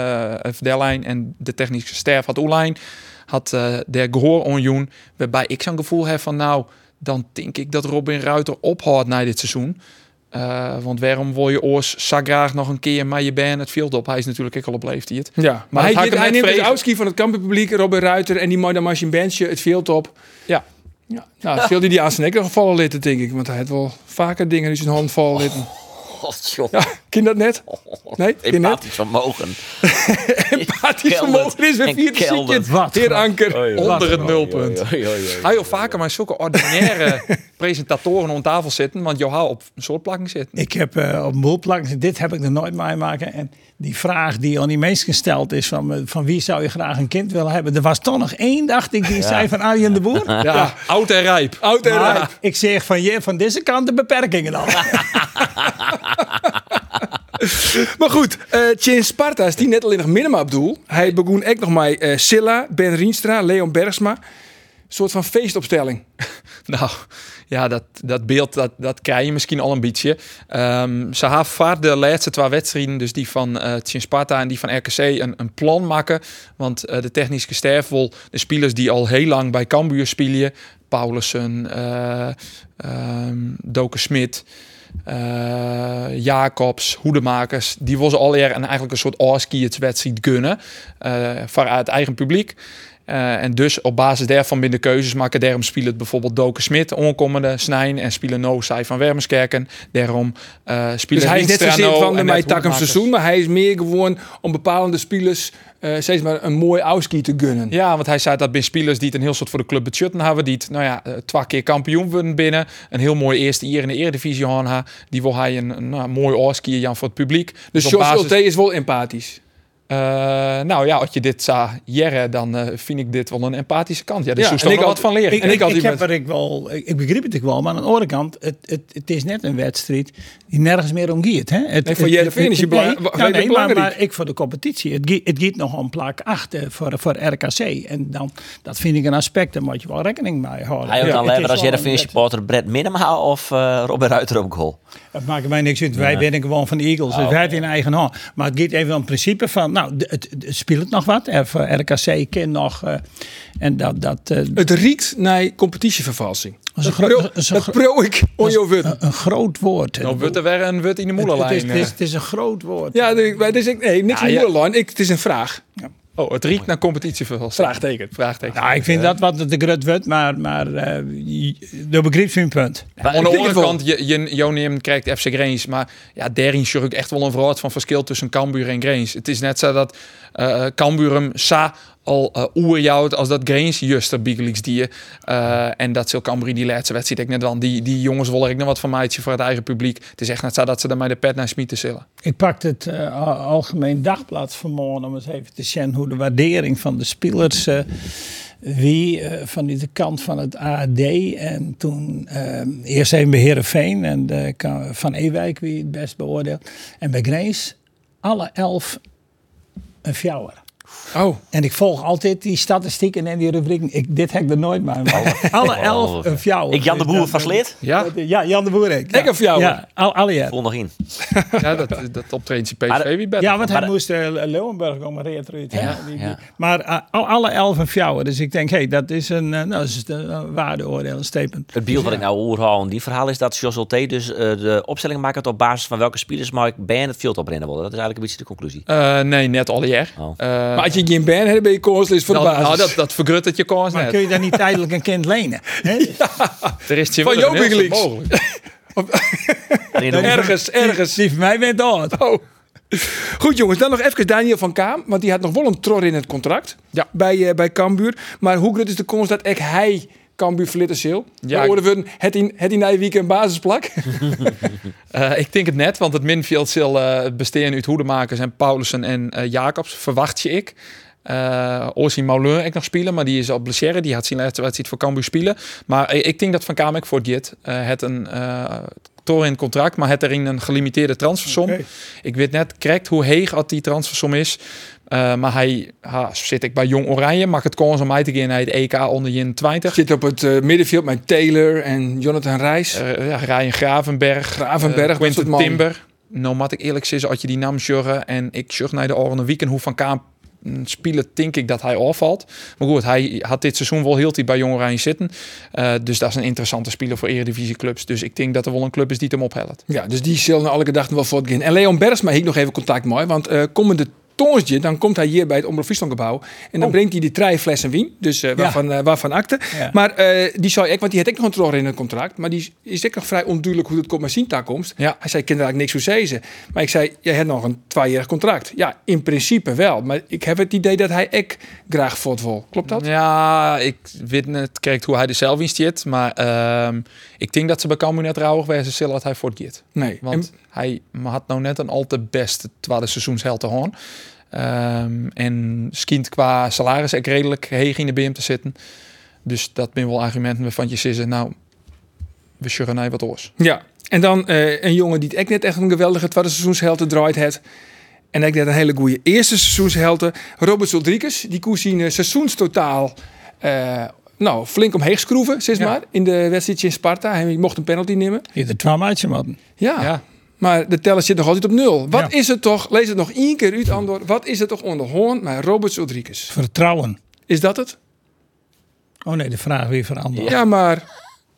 S6: Verdelijn en de technische sterf had Oelijn, had eh der gehoor onjoen, waarbij ik zo'n gevoel heb van nou, dan denk ik dat Robin Ruiter ophoudt na dit seizoen. Eh, want waarom wil je Oors zo graag nog een keer maar je bent het veld op? Hij is natuurlijk ook al op leeftijd.
S1: Ja, maar, hij,
S6: had ik
S1: hij
S6: hem net
S1: neemt het
S6: vregen.
S1: outski van het kampenpubliek, Robin Ruiter en die Moida Machine Bandje het veld op.
S6: Ja.
S1: ja. Nou, het viel die aan zijn nek nog gevallen litten, denk ik. Want hij had wel vaker dingen in zijn hand vallen litten.
S5: God, joh.
S1: Ja, ken je dat net? Nee, ken je net? (laughs)
S5: Empathisch vermogen.
S1: Empathisch vermogen is weer
S5: en
S1: vierde
S5: keldert.
S1: ziekje. Heer Anker, onder het nulpunt.
S5: Oei, oei, oei.
S1: Hij wil vaker maar zulke
S5: (laughs)
S1: ordinaire presentatoren om tafel zitten, want Joha op een soort plakking
S5: (laughs)
S1: zit.
S4: Ik heb eh, op een boel plakken, dit heb ik nog nooit meemaken. En die vraag die aan die mensen gesteld is: van, eh, van wie zou je graag een kind willen hebben? Er was toch nog één, dacht ik, die zei van Arjen de Boer.
S1: Ja, oud en rijp. Oud en
S4: Maar
S1: rijp.
S4: ik zeg van je, van deze kant de beperkingen dan.
S1: Maar goed, eh Chin Sparta is die net alleen nog minima op doel. Hij begon ook nog met eh, Silla, Ben Rienstra, Leon Bergsma. Een soort van feestopstelling.
S6: (laughs) Nou, ja, dat, dat beeld dat, dat krijg je misschien al een beetje. Ehm ze hebben vaart de laatste twee wedstrijden, dus die van eh Chin Sparta en die van RKC, een, een plan maken. Want eh, de technische sterf wil de spelers die al heel lang bij Cambuur spelen, Paulussen, eh ehm, Doken Smit, eh, Jacobs, Hoedemakers, die was al eer en eigenlijk een soort Orskiets-wedstrijd gunnen eh, vanuit eigen publiek. Eh, en dus op basis daarvan binnen keuzes maken. Daarom spelen bijvoorbeeld Doken Smit, onkomende Snijn en spelen No Sai van Wermerskerken. Daarom eh spelen
S1: Dus hij is net
S6: Rienstra
S1: zozeer
S6: No
S1: van de
S6: en
S1: mij
S6: Ed
S1: takkem
S6: Hoedemakers.
S1: seizoen, maar hij is meer gewoon om bepalende spelers eh, steeds maar een mooi outski te gunnen.
S6: Ja, want hij zei dat bij spelers die het een heel soort voor de club budgetten hebben, die het, nou ja, eh, twee keer kampioen worden binnen, een heel mooi eerste hier in de Eredivisie aan ha, die wil hij een, een, nou, een mooi oorskier Jan voor het publiek.
S1: Dus
S6: op
S1: Jos
S6: basis-
S1: Ulte is wel empathisch.
S6: Eh, nou ja, als je dit zou jaren, dan eh, vind ik dit wel een empathische kant. Ja, daar
S1: Ja,
S6: zou je
S1: en
S6: toch
S1: ik
S6: nog wat
S1: had-
S6: van leren.
S4: Ik,
S1: En
S4: ik,
S1: ik had
S4: ik
S1: iemand-
S4: heb er, ik, wel, ik, ik begreep het ook wel, maar aan de andere kant, het, het, het is net een wedstrijd die nergens meer om gaat. Hè? Het,
S1: Nee, voor
S4: het-
S1: Heerenveen
S4: het-
S1: is je
S4: het- nee,
S1: belang- wa-
S4: ja,
S1: weet je
S4: nee, maar,
S1: belangrijk.
S4: maar ik voor de competitie. Het, gaat- het gaat nog om plak 8 voor, voor RKC. En dan, dat vind ik een aspect, daar moet je wel rekening mee houden.
S5: Hij houdt
S4: Ja.
S5: dan
S4: Het
S5: lever
S4: is
S5: als
S4: wel een
S5: Jereveen
S4: wedstrijd.
S5: supporter Brett Minema of eh Robin Ruiter op goal.
S4: Het maakt mij niks uit. Wij winnen gewoon van de Eagles.
S5: Oh.
S4: Dus wij hebben in eigen hand. Maar het gaat even om het principe van, nou, de- het, het speelt nog wat. Er voor RKC kan nog. eh, en dat, dat, eh,
S1: Het riekt naar competitievervalsing.
S4: is een
S1: Dat
S4: gro-
S1: pro-
S4: dat is een
S1: Dat
S4: gro-
S1: pro ik on
S4: dat
S1: jouw
S4: is eh,
S1: wut.
S4: een, een groot woord.
S1: Nou,
S6: Dan Nou, wordt er weer een wut in de
S4: Het, het, is,
S6: moederlijn.
S4: het, is, het is een groot woord.
S1: Ja, de- maar het is, ik- nee, niks
S6: Ja,
S1: in
S6: ja.
S1: de moederlijn. Ik, het is een vraag.
S6: Oh, het riekt naar competitievervalsing.
S1: Vraagteken.
S6: Vraagteken.
S4: Nou, ik vind dat wat de grut wordt, maar, maar eh de begrijp zijn punt.
S6: Aan de
S1: denk het
S6: andere
S1: wel.
S6: kant, je, je, Joneem krijgt FC Greens. Maar ja, daarin zie ik echt wel een verhoud van verschil tussen Cambuur en Greens. Het is net zo dat eh Cambuur hem sa al eh oerjouwt als dat Greens juster Biegelix die je. Eh, en dat zal Cambuur in die laatste wedstrijd ik net dan. Die, die jongens willen ik nog wat van maatje voor het eigen publiek. Het is echt net zo dat ze daarmee de pet naar smieten zullen.
S4: Ik pak het eh, Al- Algemeen Dagblad vanmorgen om eens even te zien hoe de waardering van de spelers, eh, wie eh, van de kant van het AD en toen eh, eerst even bij Heerenveen en de ka- Van Ewijk wie het best beoordeelt. En bij Grace alle elf een fjouwer.
S1: Oh,
S4: En ik volg altijd die statistieken en die rubrieken. Ik, dit heb ik er nooit mee. Maar alle elf een fjouwer.
S5: Ik Jan de
S4: Dus
S5: Boer
S4: dat-
S5: van Sleert.
S6: Ja,
S4: Ja, Jan de Boer. Ik, ja.
S1: Ik een fjouwer.
S4: Ja, al, alle elf.
S5: Vol nog in.
S6: ja dat, dat optreedt je
S5: Maar dat-
S6: PSV weer beter.
S4: Ja, want hij
S5: Maar-
S4: moest eh, Leeuwenberg om reed eruit. hè?
S5: Ja,
S4: Die- die-
S5: ja.
S4: Maar eh, al alle elf een fjouwer. Dus ik denk, hey, dat is een, eh, nou, dat is een eh, waardeoordeel, een statement.
S5: Het beeld wat ik nou hoor hou in die verhaal is dat Jos T dus eh, de opstelling maakt op basis van welke spelers Mike Ben het veld oprennen wilde. Dat is eigenlijk een beetje de conclusie.
S6: Eh, nee, net al jaar.
S5: Oh.
S6: Eh,
S1: maar als je geen band hebt, ben je koorslist voor
S6: dan-
S1: de basis.
S6: nou, dat, dat vergrut het je kans
S4: Maar
S6: net.
S4: kun je dan niet tijdelijk een kind lenen? hè?
S6: Er is
S1: Van jouw Biegelix.
S5: Alleen de hoeven-
S1: Ergens, ergens.
S4: Die van mij bent dood.
S1: Oh. Goed jongens, dan nog even Daniel van Kaam. Want die had nog wel een tror in het contract
S6: Ja.
S1: bij, eh, bij Cambuur. Maar hoe groot is de kans dat ook hij Cambuur verlitten zal?
S6: Ja,
S1: Ja,
S6: ik-
S1: hoorden we een- het in, het in een weekend basisplak.
S6: Eh, ik denk het net, want het minfield zal eh besteden uit hoedemakers en Paulussen en eh, Jacobs, verwacht je ik. Eh Orsi Mauleur ik nog spelen, maar die is al blessure. Die had zijn laatste wedstrijd voor Cambuur spelen. Maar eh, ik denk dat Van Kamek voor dit eh, het een eh toren in het contract, maar het erin een gelimiteerde transfersom. Ik weet net correct hoe heeg dat die transfersom is. Eh, maar hij ha, zit ik bij Jong Oranje, mag het kans om mij te gaan naar het EK onder je
S1: (laughs)
S6: 20.
S1: Zit op het eh, middenveld met Taylor en Jonathan Reis.
S6: Eh, ja, Ryan Gravenberg.
S1: Gravenberg,
S6: eh,
S1: dat soort
S6: Quinten
S1: man.
S6: Timber. Nou, moet ik eerlijk zeggen, als je die naam zorgen en ik zorg naar de oren weekend hoe Van Kaam mm, spelen, denk ik dat hij afvalt. Maar goed, hij had dit seizoen wel heel diep bij Jong Oranje zitten. Eh, dus dat is een interessante speler voor eredivisieclubs. Dus ik denk dat er wel een club is die het hem ophelpt.
S1: Ja, dus die zullen alle gedachten wel voortgaan. En Leon Bergsma heeft nog even contact mooi, want eh, komende tongesje, dan komt hij hier bij het Omroep Friesland gebouw. En dan brengt hij die drie flessen wien, dus eh, waarvan, eh, waarvan akte.
S6: Oh. Ja.
S1: Maar eh, die zou ik, want die had ik nog een tror in het contract. Maar die is ik nog vrij onduidelijk hoe dat komt met zijn toekomst. Hij zei, ik ken er eigenlijk niks hoe zezen. Maar ik zei, jij hebt nog een tweejarig contract. Ja, in principe wel. Maar ik heb het idee dat hij ik graag voort wil. Klopt dat?
S6: Ja, ik weet net kijk hoe hij er zelf in zit. Maar ehm, ik denk dat ze bij Cambuur net rauwig wezen zullen dat hij voortgeeft.
S1: Nee.
S6: Want hij had nou net een al te beste tweede seizoensheld te horen. Ehm, en skint qua salaris ook redelijk heeg in de BM te zitten. Dus dat zijn wel argumenten waarvan je zegt, nou, we sjuggen naar wat oors.
S1: Ja, en dan eh, een jongen die het echt net echt een geweldige tweede seizoenshelte draait het. En ik net een hele goede eerste seizoenshelte. Robert Zoldriekes, die koers in eh, seizoenstotaal eh, nou, flink omheen schroeven, zeg maar, in de wedstrijd in Sparta. Hij mocht een penalty nemen.
S4: Hier de twaalf man.
S1: Ja. Maar de teller zit nog altijd op nul. Wat is het toch, lees het nog één keer uit, Andor. Wat is het toch onder hoorn met Robert Zoldriekes?
S4: Vertrouwen.
S1: Is dat het?
S4: Oh nee, de vraag weer van Andor.
S1: Ja, maar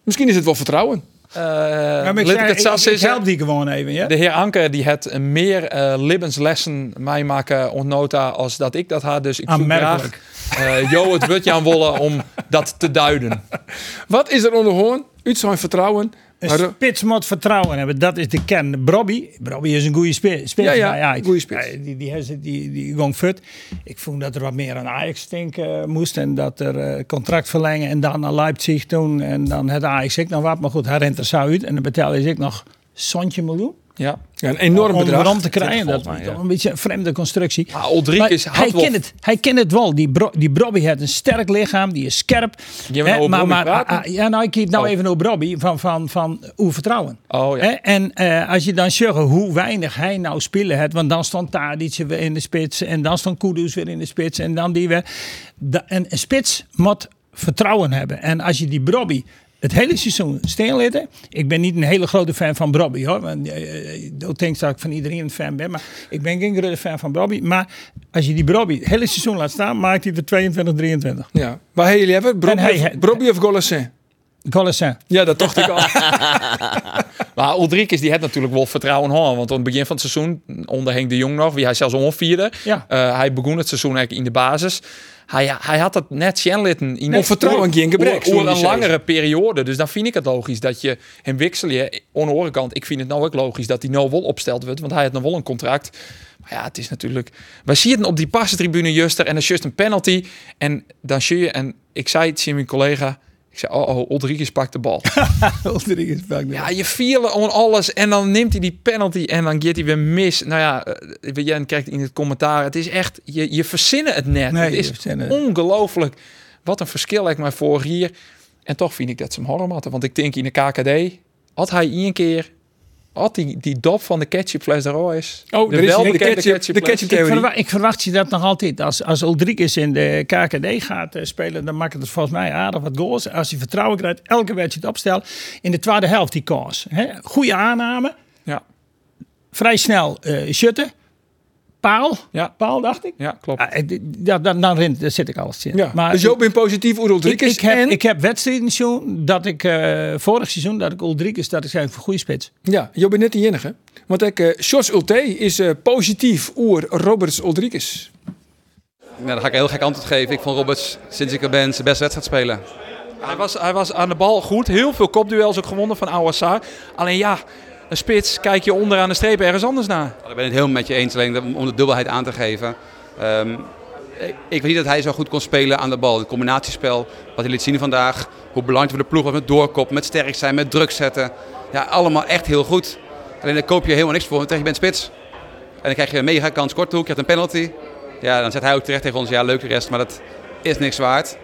S1: misschien is het wel vertrouwen.
S4: Ja, maar ik,
S6: Laat
S4: zei,
S6: ik het
S4: ik,
S6: zelfs
S4: ik
S6: zeggen.
S4: help die gewoon even, ja?
S6: De heer Anker die had meer eh, libbenslessen mij maken ontnota als dat ik dat had. Dus ik zoek graag
S4: Aanmerkelijk.
S6: eh Jo het Wutje aan wollen om dat te duiden.
S1: Wat is er onder hoorn? Uit zijn vertrouwen.
S4: Een
S1: Maar Ro-
S4: spits moet vertrouwen hebben, dat is de kern. Brobby, Brobby is een goede spi- spits.
S1: Ja, ja,
S4: maar ik-
S1: goeie spits.
S4: ja, Die, die, die, die, die gong fut. Ik vond dat er wat meer aan Ajax denken moest. En dat er eh, contract verlengen en dan naar Leipzig toen. En dan had Ajax ook nog wat. Maar goed, hij rent er zo uit. En dan betaalde hij ook nog zontje miljoen.
S6: Ja.
S1: Ja, een enorm
S4: om
S1: bedrag.
S4: rond te krijgen. Dat
S5: volgens
S4: is
S5: mij, ja.
S4: toch een beetje een vreemde constructie.
S6: Ah, Ulrikes
S4: Maar
S6: had
S4: hij
S6: wel-
S4: kent het. Hij kent het wel. Die, bro, die Brobby heeft een sterk lichaam. Die is scherp.
S6: Je wil
S4: Hè,
S6: over
S4: maar
S6: Brobby
S4: maar
S6: praten?
S4: ah, ah, ja, nou, ik kijk nou
S6: Oh.
S4: even over Brobby van, van, van hoe vertrouwen.
S6: Oh ja.
S4: Hè, En eh, als je dan zegt hoe weinig hij nou spelen heeft, want dan stond Tadic weer in de spits en dan stond Kudus weer in de spits en dan die weer. Da- en een spits moet vertrouwen hebben. En als je die Brobby het hele seizoen steen liet, ik ben niet een hele grote fan van Brobby hoor, want eh, eh, ik denk dat ik van iedereen een fan ben, maar ik ben geen grote fan van Brobby. Maar als je die Brobby het hele seizoen laat staan, maakt hij er 22, 23.
S1: Ja, waar hebben jullie hebben? Brobby,
S4: En
S1: of,
S4: hij-
S1: Brobby of Golasin?
S4: Colossin. (laughs)
S1: Ja, dat dacht ik al.
S6: Maar Ulrikes die had natuurlijk wel vertrouwen hoor. Want aan het begin van het seizoen, onder Henk de Jong nog, wie hij zelfs omvierde.
S4: Ja.
S6: eh, hij begon het seizoen eigenlijk in de basis. Hij, hij had dat net Shenlitten in
S1: Om vertrouwen geen gebrek,
S6: Over
S1: zoals
S6: over
S1: je
S6: een
S1: zei.
S6: langere periode. Dus dan vind ik het logisch dat je hem wissel je. Aan de andere kant, ik vind het nou ook logisch dat hij nou wel opsteld wordt. Want hij had nog wel een contract. Maar ja, het is natuurlijk... Wij zien het op die passentribune juster. En dan is just een penalty. En dan zie je... En ik zei het tegen mijn collega. Ik zei, oh, oh, Ulrikes pakt de bal. Ja, je vielen om alles en dan neemt hij die penalty en dan gaat hij weer mis. Nou ja, eh, Jan krijgt in het commentaar. Het is echt, je, je verzinnen het net.
S4: Nee,
S6: het eh,
S4: je
S6: is
S4: verzinnen het.
S6: ongelooflijk. Wat een verschil lijkt mij voor hier. En toch vind ik dat ze hem horror hadden. Want ik denk in de KKD, had hij één keer, had die, die dop van de ketchupfles er al is.
S1: Oh,
S6: De
S1: er is de
S6: welbekende
S1: ketchup, de
S6: ketchupfles.
S1: ketchup theorie.
S4: Verwa- ik verwacht je dat nog altijd. Als, als Ulrikes in de KKD gaat eh, spelen, dan maakt het er volgens mij aardig wat goals. Als je vertrouwen krijgt, elke wedstrijd opstelt. In de tweede helft die kans. hè. Goede aanname.
S6: Ja.
S4: Vrij snel eh shutten. Paal.
S6: Ja.
S4: Paal, dacht ik.
S6: Ja, klopt.
S4: Ah, eh, d- ja, dan, dan, rent- daar zit ik alles in.
S1: Ja. dus Joop bent positief over
S4: ik,
S1: Rodriguez.
S4: ik, heb,
S1: en,
S4: ik heb wedstrijden gezien dat ik eh, vorig seizoen dat ik Ulrikes dat ik zei voor goede spits.
S1: ja, Joop bent net de enige. Want ik, eh Sjors Ulte is eh, positief oer Roberts Rodriguez.
S13: Ja, dan ga ik een heel gek antwoord geven. Ik vond Roberts sinds ik er ben zijn beste wedstrijd spelen.
S6: Hij was, hij was aan de bal goed. Heel veel kopduels ook gewonnen van Awassar. Alleen ja, een spits kijk je onder aan de streep ergens anders naar.
S13: Daar ben ik het heel met je eens, alleen om de dubbelheid aan te geven. Ehm, ik, ik weet niet dat hij zo goed kon spelen aan de bal. Het combinatiespel, wat hij liet zien vandaag. Hoe belangrijk voor de ploeg was met doorkop, met sterk zijn, met druk zetten. Ja, allemaal echt heel goed. Alleen daar koop je helemaal niks voor, want dan krijg je bent spits. En dan krijg je een mega kans kort toe, je hebt een penalty. Ja, dan zet hij ook terecht tegen ons, ja leuk de rest, maar dat is niks waard.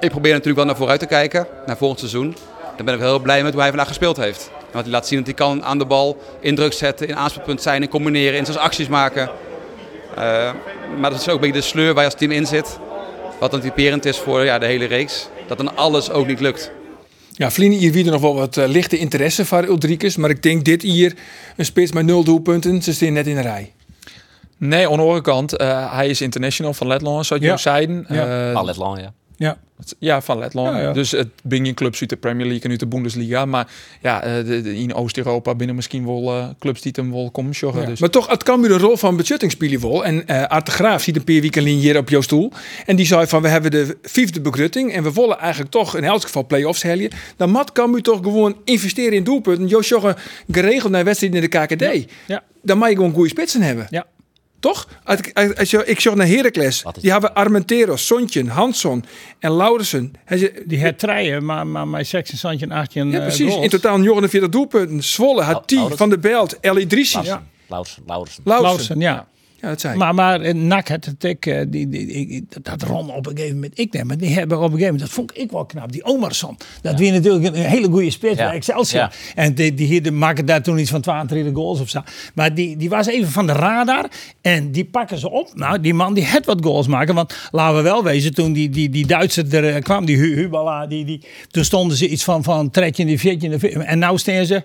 S13: Ik probeer natuurlijk wel naar vooruit te kijken, naar volgend seizoen. Daar ben ik wel heel blij met hoe hij vandaag gespeeld heeft. En wat hij laat zien dat hij kan aan de bal, in druk zetten, in aanspeelpunt zijn, in combineren, in zijn acties maken. Eh, maar dat is ook een beetje de sleur waar je als team in zit. Wat dan typerend is voor ja, de hele reeks. Dat dan alles ook niet lukt.
S1: Ja, Vlien hier wie er nog wel wat eh, lichte interesse van Rodriguez. Maar ik denk dit hier een spits met nul doelpunten. Ze staan net in de rij.
S6: Nee, aan de andere kant, eh, hij is international van Letland, zoals
S4: Ja.
S6: jullie zeiden.
S4: Ja.
S6: Eh,
S5: Palet lang, ja.
S4: Ja.
S6: Ja, van Letland.
S4: Ja, ja.
S6: Dus het bingen clubs uit de Premier League en uit de Bundesliga. Maar ja, eh, de- de- in Oost-Europa binnen misschien wel eh, clubs die het hem wel komen sjoggen.
S1: Ja.
S6: Dus.
S1: Maar toch, het kan nu de rol van beschutting spelen wel. En eh Art de Graaf ziet een paar weken alleen hier op jouw stoel. En die zei van, we hebben de vijfde begrutting. En we willen eigenlijk toch in elk geval play-offs helden. Dan mat kan u toch gewoon investeren in doelpunten. Jo sjoggen geregeld naar wedstrijden in de KKD. Dan mag je gewoon goede spitsen hebben.
S4: Ja.
S1: Toch? Als ik- als- als je- Ik zag naar Heracles. Die hebben Armenteros, Sontjen, Hansson en Laurensen.
S4: Die hertreien, maar, maar mijn 16, en 18
S1: Ja,
S4: eh,
S1: precies.
S4: goals.
S1: In totaal 49 doelpunten. Zwolle
S6: Nou,
S1: had 10. Van der Belt, El Idrissi.
S4: Ja.
S5: Lauwersen, Lauwersen.
S4: Lauwersen, ja.
S1: Ja, dat zei ik.
S4: Maar, maar eh, NAC had het ik, eh, die, die, die- dat- dat rom op een gegeven moment. Ik neem maar die hebben op een gegeven moment, dat vond ik wel knap, die Omarsson. Dat weer natuurlijk een, een hele goede spits
S14: Ja.
S4: bij Excelsior.
S14: Ja.
S4: En die, die hier, die maken daar toen iets van 22 goals of zo. Maar die, die was even van de radar en die pakken ze op. Nou, die man die had wat goals maken. Want laten we wel wezen, toen die, die, die Duitser er eh, kwam, die Hu- Hubala, die, die, toen stonden ze iets van, van tretje in de veertje. in de veertje. En nou staan ze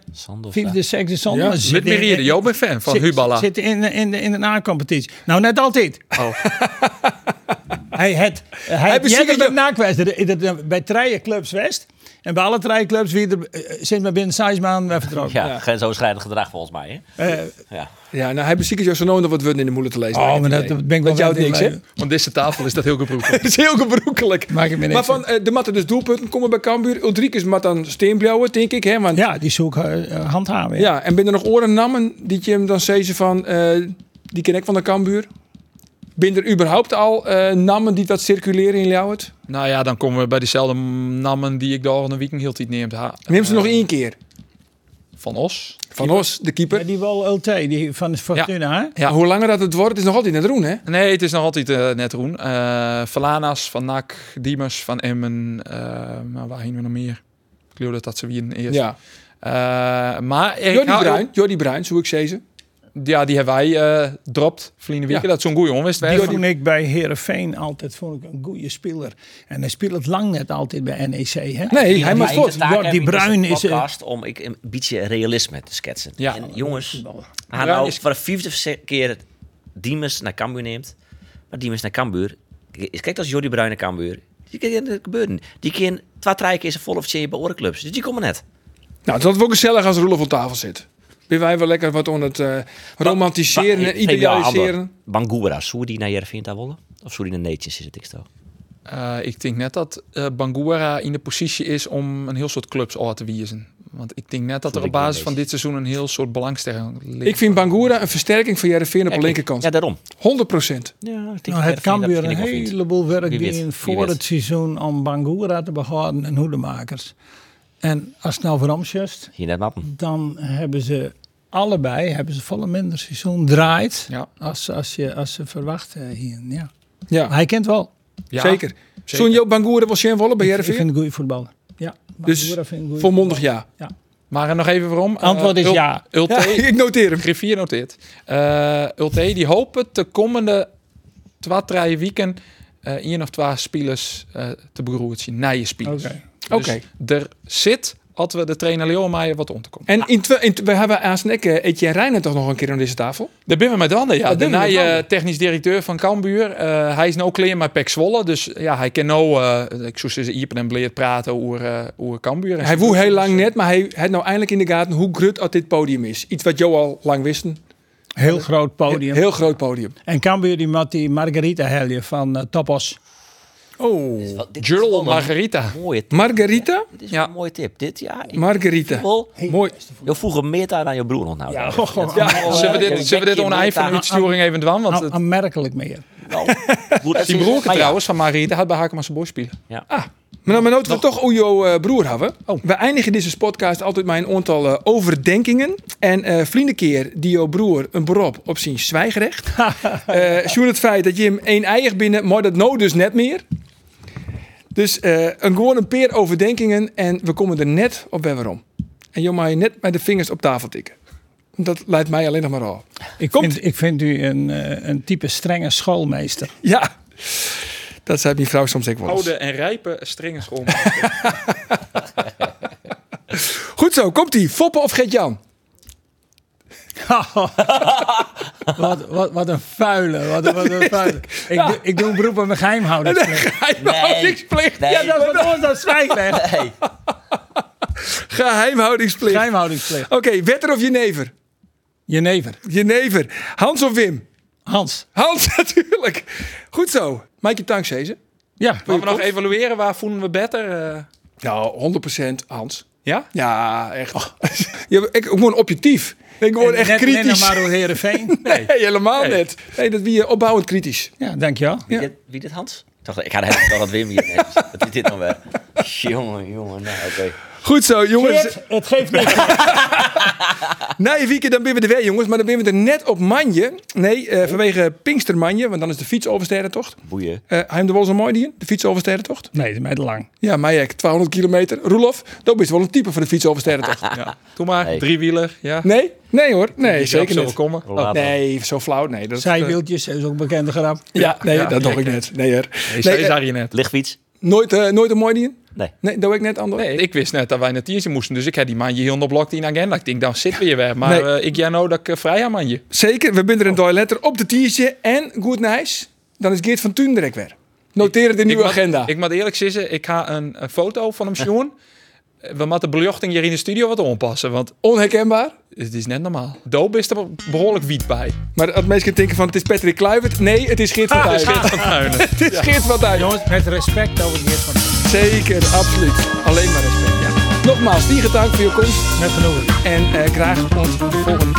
S4: vijfde, zesde, zonde.
S6: Ja, met Meride, Jo, ben fan van
S4: zit,
S6: Hubala.
S4: Zit in, in, in een A-competitie. Nou, net altijd. (laughs)
S1: Oh. Hij
S4: hij het, hij het, jij
S1: beziekert
S4: weet het nakwest. Bij Trijen Clubs West. En bij alle Trijen Clubs wie er, eh, sinds maar binnen zes maanden weer vertrokken.
S5: Ja, grensoverschrijdend gedrag volgens mij. Hè?
S4: Eh,
S5: ja.
S1: Ja, nou, hij beziekert jou zo nodig wat woorden in de moeder te lezen.
S4: Oh,
S1: Heb
S4: maar
S1: je
S4: dat-
S1: idee.
S4: dat ben ik wel
S1: Dat jouwt
S4: wel
S1: niks,
S4: mee.
S1: hè? (laughs)
S6: Want deze tafel is dat heel
S4: (laughs)
S6: gebroken.
S1: Het is heel gebroekelijk.
S4: Maak ik me niks
S1: maar van eh, de matten dus doelpunten komen bij Cambuur. Ulrikus mat dan steenblauwen, denk ik. Hè? Want,
S4: ja, die zoek eh, handhaven.
S1: ja, en binnen nog oren nammen die je hem dan zezen van... eh, die ken ik van de Cambuur. Binnen er überhaupt al eh, nammen die wat circuleren in Ljouwert?
S6: Nou ja, dan komen we bij diezelfde namen die ik de volgende weekend hield. Die het neemt. Ha-
S1: Neem ze nog één keer.
S6: Van Os.
S1: Van Os, de keeper.
S4: die wel LT, die van Fortuna. hè?
S1: Ja. Hoe langer dat het wordt, is nog altijd net roen, hè?
S6: Nee, het is nog altijd eh, net Roen. Eh Valanas van NAC, Diemers van Emmen. eh, nou, waar heen we nog meer? Ik geloof dat dat ze wien eerst.
S1: Ja.
S6: Eh, maar ik
S1: Jordi
S6: hou-
S1: Bruin, Jordi Bruin, zo ik zezen.
S6: Ja, die hebben wij eh dropt. Verleden week.
S4: Ja.
S6: Dat is zo'n goeie onwist.
S4: Die vond ik bij Herenveen altijd vond ik een goede speler. En hij speelt het lang net altijd bij NEC. Hè?
S1: Nee, hij
S5: Maar
S4: maakt
S5: in de taak heb
S4: Die
S5: ik dus
S4: Bruin
S5: een
S4: is... eh,
S5: podcast om ik een beetje realisme te schetsen.
S4: Ja.
S5: En jongens, hij
S4: Bruin
S5: nou
S4: is-
S5: voor de vijfde keer Diemers naar Cambuur neemt. Maar Diemers naar Cambuur... Kijk, kijk, dat is Jordi Bruin naar Cambuur. Die kan dat gebeuren. Die kan twee, drie keer zijn volle of bij andere clubs. Dus die komen net.
S1: Nou, dat wordt gezellig als Roelof op tafel zit. Ben wij wel lekker wat aan het eh, romantiseren en idealiseren.
S5: Bangura, zou die naar Jervin daar willen? Of zou die naar Nations is het ik toch?
S6: Eh, ik denk net dat eh Bangura in de positie is om een heel soort clubs al te wiezen. Want ik denk net dat er op basis van dit seizoen een heel soort belangstelling ligt.
S1: Ik vind Bangura een versterking van Jereveen op de
S6: Ja,
S1: linkerkant.
S5: Ja, daarom.
S1: 100 procent.
S4: Nou, het kan weer een heleboel werk
S1: Wie
S4: die
S1: weet,
S4: in
S1: wie
S4: voor
S1: weet.
S4: het seizoen om Bangura te behouden en hoedemakers. En als het nou voor Amsterdam
S5: Hier net mappen.
S4: dan hebben ze allebei hebben ze volle minder seizoen draait
S6: Ja.
S4: als, als, je, als ze verwachten hier. Ja.
S1: Ja.
S4: Maar Hij kent wel.
S6: Ja,
S1: zeker. Zo'n Jo Bangura was Sjen Wolle bij
S4: Ik vind
S1: Jereveen?
S4: een goede voetballer. Ja,
S1: Dus
S4: Bangura vind ik een goeie
S1: volmondig ja.
S4: Ja.
S6: Maar eh, nog even waarom?
S4: Antwoord is
S6: Eh, Ul-
S4: ja.
S6: Ulte,
S1: Ja, (laughs)
S6: (laughs)
S1: ik noteer hem.
S6: Griffier noteert. Eh Ulte, die hopen de komende twee, drie weken eh één of twee spelers eh, te beroerd zien. Nije spelers.
S1: Oké.
S6: Dus
S1: Oké.
S6: er zit, als we de trainer Leo Meijer wat om te komen.
S1: En in twe- in tw- we hebben aan Snekke Etje Reijnen toch nog een keer aan deze tafel?
S6: Daar ben we met handen. Ja,
S1: Dat
S6: de
S1: doen we met
S6: nieuwe
S1: handen.
S6: technisch directeur van Cambuur. Eh, hij is nou clear met Pek Zwolle. Dus ja, hij kan nou, eh, ik zou zeggen, Iepen en Bleert praten over, eh over Cambuur. En
S1: Hij
S6: zo-
S1: woe heel lang net, maar hij had nou eindelijk in de gaten hoe grut dat dit podium is. Iets wat Jo al lang wisten.
S4: Heel groot podium.
S1: Heel groot podium.
S4: En Cambuur die met die Margarita helje van eh, Topos.
S1: Oh,
S6: Jurl Margarita.
S5: Mooie tip.
S1: Margarita?
S5: Dit is een mooie tip. Dit, ja.
S1: Margarita.
S5: Mooi. Je vroeg hem meer aan je broer nog nou.
S4: Ja, oh,
S5: Dat-
S4: goh,
S5: dat-
S4: goh.
S5: dat-
S6: Zullen we
S5: dat-
S6: dit, zullen we
S5: dat-
S6: dit
S5: dat-
S6: oneigen
S5: dat-
S6: uitsturing even doen? Want
S4: Aan- Ah,
S6: het,
S4: Aanmerkelijk meer. (laughs)
S5: dat-
S6: die
S5: Maar
S6: broer
S5: Ah, ja,
S6: trouwens van Margarita had bij Haken maar zijn boy spelen.
S5: Ja.
S1: Maar nou, maar noten we toch Ojo eh, broer hebben. We eindigen deze podcast altijd met een aantal eh, overdenkingen. En eh vriendenkeer die jouw broer een beroep op zijn zwijgrecht. Eh Sjoerd, het feit dat je hem één eier binnen, maar dat nou dus net meer. Dus eh, een gewoon een peer overdenkingen en we komen er net op bij waarom. En joh, maar je net met de vingers op tafel tikken. Dat leidt mij alleen nog maar al.
S4: Ik vind, ik vind u een, eh, een type strenge (laughs) schoolmeester.
S1: Ja, dat zei mijn vrouw soms ook wel eens.
S4: dus-
S6: Oude en rijpe strenge school.
S1: (laughs) Goed zo, komt ie. Foppen of Gert-Jan?
S4: wat, wat, wat een vuile. Wat, wat een vuile. Ik, doe- ik doe een beroep op mijn (laughs) geheimhoudingsplicht.
S1: Geheimhoudingsplicht.
S4: Ja, dat is wat anders dan zwijgrecht.
S1: Geheimhoudingsplicht.
S4: Geheimhoudingsplicht.
S1: Oké, wetter of jenever?
S4: Jenever.
S1: Jenever. Hans of Wim?
S4: Hans.
S1: Hans, (laughs) natuurlijk. Goed zo. Mike, dankzij
S4: Ja.
S1: Gaan we nog evalueren? Waar voelen we better? Nou, 100% Hans. Ja? Ja, echt. (laughs) Je bent- ik word objectief. Ik word
S4: En
S1: echt
S4: net- net
S1: kritisch.
S4: naar Maro Heerenveen?
S1: (laughs)
S4: (laughs)
S1: Nee, helemaal net. Nee, dat wie eh, opbouwend kritisch.
S4: Ja, dankjewel.
S5: Wie, dit, wie dit, Hans? Ik dacht, ik ga daar nog wat Wim hier nemen. Wat is dit nou weer? Jongen, jongen. Nou, oké.
S1: Goed zo, jongens.
S4: het geeft niks.
S1: (laughs) Na je weekend dan ben we er weer, jongens. Maar dan ben we er net op Manje. Nee, eh, vanwege Pinkstermanje. Want dan is de fiets over Sterrentocht.
S5: Boeien.
S1: Eh, hij hem er wel zo mooi die, de fiets over Sterrentocht?
S4: Nee, de meid lang.
S1: Ja, Majek, 200 kilometer. Roelof, dat is wel een type voor de fiets over Sterrentocht. ja.
S4: Doe maar,
S1: Nee.
S4: driewieler. Ja.
S1: Nee? Nee hoor. Nee,
S4: Die grap
S1: zeker
S4: zal
S1: niet.
S4: wel komen.
S1: Oh,
S4: Later.
S1: nee, zo flauw. Nee, dat, eh,
S4: Zijwieltjes is ook een bekende grap.
S1: Ja, nee, dat
S4: doe
S1: dacht ik net. Nee, hoor.
S4: Nee,
S1: nee, eh,
S4: je net.
S5: Lichtfiets.
S1: Nooit, eh, nooit een mooi dien?
S5: Nee.
S1: Nee, dat weet ik net anders.
S6: Nee, ik wist net dat wij naar Tiertje moesten. Dus ik had die manje heel nog blokt in agenda. Ik denk, dan zitten we je weg. Maar
S1: Nee.
S6: eh, ik ja nou dat ik eh, vrij aan manje.
S1: Zeker, we binden een letter op de tiertje en goed nice. Dan is Geert van Tuundrek weer. Noteren de nieuwe
S6: ik
S1: agenda.
S6: Moet, ik moet eerlijk zeggen, ik ga een, een foto van hem zien. We moeten de belichting hier in de studio wat onpassen. Want
S1: onherkenbaar.
S6: het is net normaal. Doop is er behoorlijk wiet bij.
S1: Maar dat mensen kunnen denken van het is Patrick Kluivert. Nee, het is Geert van
S6: Ah,
S1: Tuinen.
S6: het is Geert van Tuinen.
S1: (laughs) het is Geert van Tuinen.
S4: Jongens, met respect over Geert van Tuinen.
S1: Zeker, absoluut. Alleen maar respect, ja. Nogmaals, die dank voor je komst.
S4: Met genoegen.
S1: En eh, graag tot de volgende